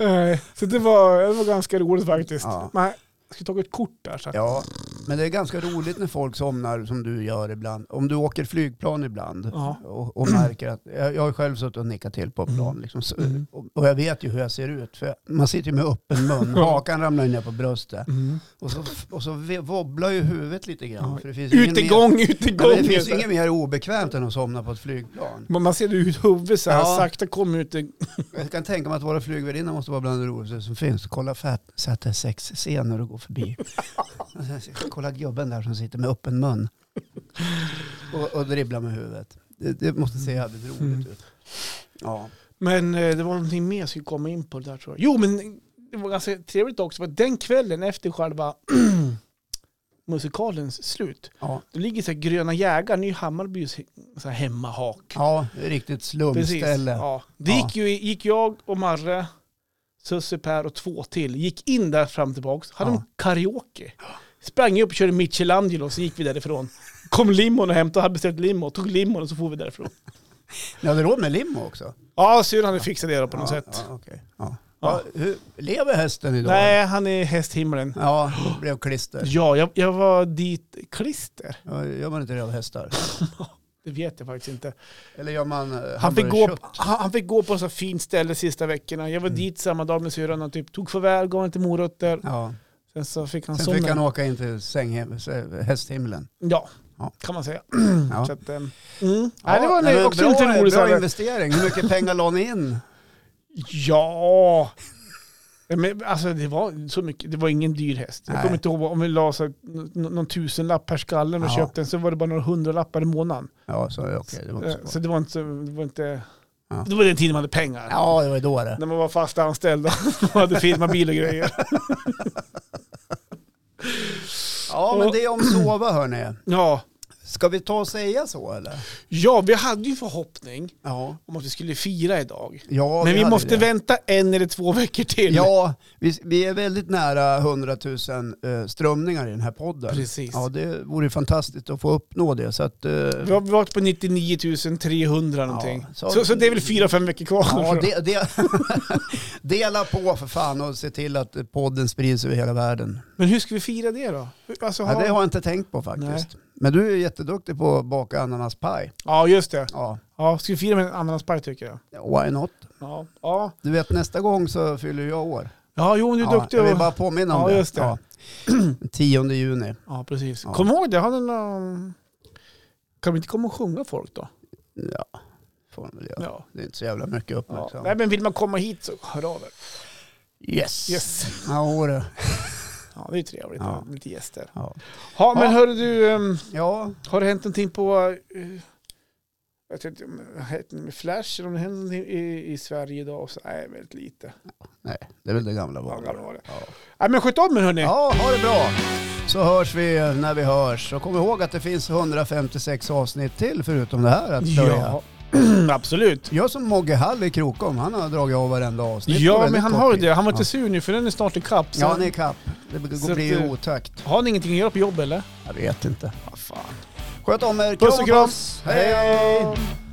[SPEAKER 2] Eh, Så det var, det var ganska roligt faktiskt.
[SPEAKER 1] Ja.
[SPEAKER 2] Men jag ska ta ett kort där. Så.
[SPEAKER 1] Ja, men det är ganska roligt när folk somnar som du gör ibland. Om du åker flygplan ibland
[SPEAKER 2] Ja.
[SPEAKER 1] och, och märker att, jag, jag har själv suttit och nickat till på plan liksom, så,
[SPEAKER 2] Mm.
[SPEAKER 1] och, och jag vet ju hur jag ser ut. För jag, man sitter ju med öppen mun, hakan ramlar ju ner på bröstet.
[SPEAKER 2] Mm.
[SPEAKER 1] Och så, och så ve- wobblar ju huvudet lite grann.
[SPEAKER 2] Ja.
[SPEAKER 1] För det finns ju ingen mer,
[SPEAKER 2] Utegång,
[SPEAKER 1] ja,
[SPEAKER 2] utegång.
[SPEAKER 1] men det finns ju
[SPEAKER 2] så.
[SPEAKER 1] inget mer obekvämt än att somna på ett flygplan.
[SPEAKER 2] Man man ser det ut huvudet så här,
[SPEAKER 1] Ja.
[SPEAKER 2] sakta kom ut. i-
[SPEAKER 1] Jag kan tänka mig att våra flygvärdinnor måste vara bland det roligaste som finns. Kolla fat- sätta sex scener och gå förbi. Och sen, kolla gubben där som sitter med öppen mun och, och dribblar med huvudet. Det, det måste se jävligt roligt
[SPEAKER 2] Mm.
[SPEAKER 1] ut. Ja.
[SPEAKER 2] Men eh, det var någonting mer jag skulle komma in på där tror jag. Jo, men det var ganska trevligt också. För den kvällen efter själva musikalens slut,
[SPEAKER 1] Ja.
[SPEAKER 2] Då ligger så här Gröna jägaren i Hammarbys så här hemmahak.
[SPEAKER 1] ja, det är riktigt slumställe.
[SPEAKER 2] Ja. Det
[SPEAKER 1] Ja.
[SPEAKER 2] gick, ju, gick jag och Marre, Susse, Per och två till. Gick in där fram och tillbaka. Hade
[SPEAKER 1] Ja.
[SPEAKER 2] de karaoke. Sprang upp och körde Michelangelo så gick vi därifrån. Kom limon och hämtade, hade beställt limon. Tog limon och så for vi därifrån.
[SPEAKER 1] Ni hade råd med limo också?
[SPEAKER 2] Ja, syrran hade fixat det då på något
[SPEAKER 1] ja,
[SPEAKER 2] sätt.
[SPEAKER 1] Ja, okej. ja.
[SPEAKER 2] Ja.
[SPEAKER 1] Ja, hur, lever hästen idag?
[SPEAKER 2] Nej, han är hästhimlen.
[SPEAKER 1] Ja, det blev klister.
[SPEAKER 2] Ja, jag, jag var dit... Klister?
[SPEAKER 1] Ja, Gör man inte det av hästar?
[SPEAKER 2] Det vet jag faktiskt inte.
[SPEAKER 1] Eller gör man eh,
[SPEAKER 2] Han fick, gå,
[SPEAKER 1] hamburgerkött?
[SPEAKER 2] han, han fick gå på så fint ställe sista veckorna. Jag var
[SPEAKER 1] Mm.
[SPEAKER 2] dit samma dag med syrran och typ tog farväl, gav inte morötter.
[SPEAKER 1] Ja.
[SPEAKER 2] Sen så fick han
[SPEAKER 1] Sen
[SPEAKER 2] somna.
[SPEAKER 1] fick han åka in till sänghem, hästhimlen.
[SPEAKER 2] Ja,
[SPEAKER 1] Ja.
[SPEAKER 2] kan man säga.
[SPEAKER 1] Ja.
[SPEAKER 2] Så att, ehm, mm. Nej, det var en, också
[SPEAKER 1] bra,
[SPEAKER 2] en lite rolig
[SPEAKER 1] bra
[SPEAKER 2] sak.
[SPEAKER 1] investering. Hur mycket pengar la ni in?
[SPEAKER 2] Ja. Nej, Men, alltså det var så mycket, det var ingen dyr häst. Jag
[SPEAKER 1] Nej.
[SPEAKER 2] kommer inte ihåg vad- om vi la så här, n- n- någon tusenlapp per skalle och
[SPEAKER 1] Ja.
[SPEAKER 2] köpte den så var det bara några hundralappar i månaden.
[SPEAKER 1] Ja, så, okej. det var
[SPEAKER 2] Eh,
[SPEAKER 1] inte
[SPEAKER 2] Så
[SPEAKER 1] så bra.
[SPEAKER 2] det var inte, det var inte,
[SPEAKER 1] Ja.
[SPEAKER 2] det var den tiden man hade pengar.
[SPEAKER 1] Ja, det var ju då det.
[SPEAKER 2] När man var fast anställd och hade firmabil och grejer.
[SPEAKER 1] Ja, men det är om sova hörni.
[SPEAKER 2] Ja.
[SPEAKER 1] Ska vi ta och säga så eller?
[SPEAKER 2] Ja, vi hade ju förhoppning
[SPEAKER 1] Ja.
[SPEAKER 2] om att vi skulle fira idag.
[SPEAKER 1] ja
[SPEAKER 2] Men vi
[SPEAKER 1] hade
[SPEAKER 2] måste
[SPEAKER 1] det.
[SPEAKER 2] vänta en eller två veckor till.
[SPEAKER 1] Ja, vi, vi är väldigt nära 100 000 eh, strömningar i den här podden.
[SPEAKER 2] Precis.
[SPEAKER 1] Ja, det vore ju fantastiskt att få uppnå det. Så att, eh,
[SPEAKER 2] Vi har varit på 99 300 någonting.
[SPEAKER 1] Ja,
[SPEAKER 2] så,
[SPEAKER 1] så-
[SPEAKER 2] så, det är väl fyra, fem veckor kvar.
[SPEAKER 1] Ja, de, de, dela på för fan och se till att podden sprids över hela världen.
[SPEAKER 2] Men hur ska vi fira det då? Alltså,
[SPEAKER 1] Ja,
[SPEAKER 2] ha...
[SPEAKER 1] det har jag inte tänkt på faktiskt. Men du är jätteduktig på att baka ananaspaj.
[SPEAKER 2] ja, just det.
[SPEAKER 1] Ja,
[SPEAKER 2] Ja, ska vi fira med en ananaspaj tycker jag.
[SPEAKER 1] why not?
[SPEAKER 2] Ja, ja.
[SPEAKER 1] Du vet nästa gång så fyller jag år.
[SPEAKER 2] ja jo, du är
[SPEAKER 1] ja,
[SPEAKER 2] duktig.
[SPEAKER 1] Jag vill
[SPEAKER 2] och-
[SPEAKER 1] bara påminna om
[SPEAKER 2] Ja,
[SPEAKER 1] det.
[SPEAKER 2] just det.
[SPEAKER 1] 10 juni.
[SPEAKER 2] Ja, precis.
[SPEAKER 1] Ja.
[SPEAKER 2] Kom ihåg det. Har ni någon... Kan vi inte komma och sjunga folk då?
[SPEAKER 1] Ja, får man väl göra.
[SPEAKER 2] Ja.
[SPEAKER 1] Det är inte så jävla mycket liksom.
[SPEAKER 2] ja.
[SPEAKER 1] uppmärksamhet.
[SPEAKER 2] Nej, men vill man komma hit så hör av er.
[SPEAKER 1] Yes.
[SPEAKER 2] Yes.
[SPEAKER 1] Ja, åh, det.
[SPEAKER 2] Ja, det är ju trevligt.
[SPEAKER 1] Ja.
[SPEAKER 2] med Lite gäster.
[SPEAKER 1] Ja.
[SPEAKER 2] Ja, men
[SPEAKER 1] Ja.
[SPEAKER 2] hörru du, ehm,
[SPEAKER 1] ja,
[SPEAKER 2] har det hänt någonting på... eh, jag vet inte om det har hänt något med Flash eller om det hänt någonting i, i Sverige idag. Så, nej, väldigt lite.
[SPEAKER 1] det är väl det gamla
[SPEAKER 2] Ja,
[SPEAKER 1] vanliga.
[SPEAKER 2] gamla var det.
[SPEAKER 1] Ja.
[SPEAKER 2] Nej, men sköt om er hörni.
[SPEAKER 1] ja, ha det bra. Så hörs vi när vi hörs. Och kom ihåg att det finns 156 avsnitt till förutom det här att plöja.
[SPEAKER 2] Ja, absolut.
[SPEAKER 1] Gör som Mogge Hall i Krokom, han har dragit av varenda avsnitt. på
[SPEAKER 2] Ja,
[SPEAKER 1] väldigt
[SPEAKER 2] men han
[SPEAKER 1] kort
[SPEAKER 2] har ju
[SPEAKER 1] tid.
[SPEAKER 2] det. Han var inte
[SPEAKER 1] ja.
[SPEAKER 2] sur nu för den är snart ikapp.
[SPEAKER 1] Ja,
[SPEAKER 2] Så
[SPEAKER 1] han är ikapp. Det blir-
[SPEAKER 2] Så att
[SPEAKER 1] blir ju
[SPEAKER 2] du-
[SPEAKER 1] otakt.
[SPEAKER 2] Har ni ingenting att göra på jobb eller?
[SPEAKER 1] Jag vet inte.
[SPEAKER 2] Vad fan.
[SPEAKER 1] Sköt om er.
[SPEAKER 2] Puss och kram.
[SPEAKER 1] Hej!
[SPEAKER 2] Hej.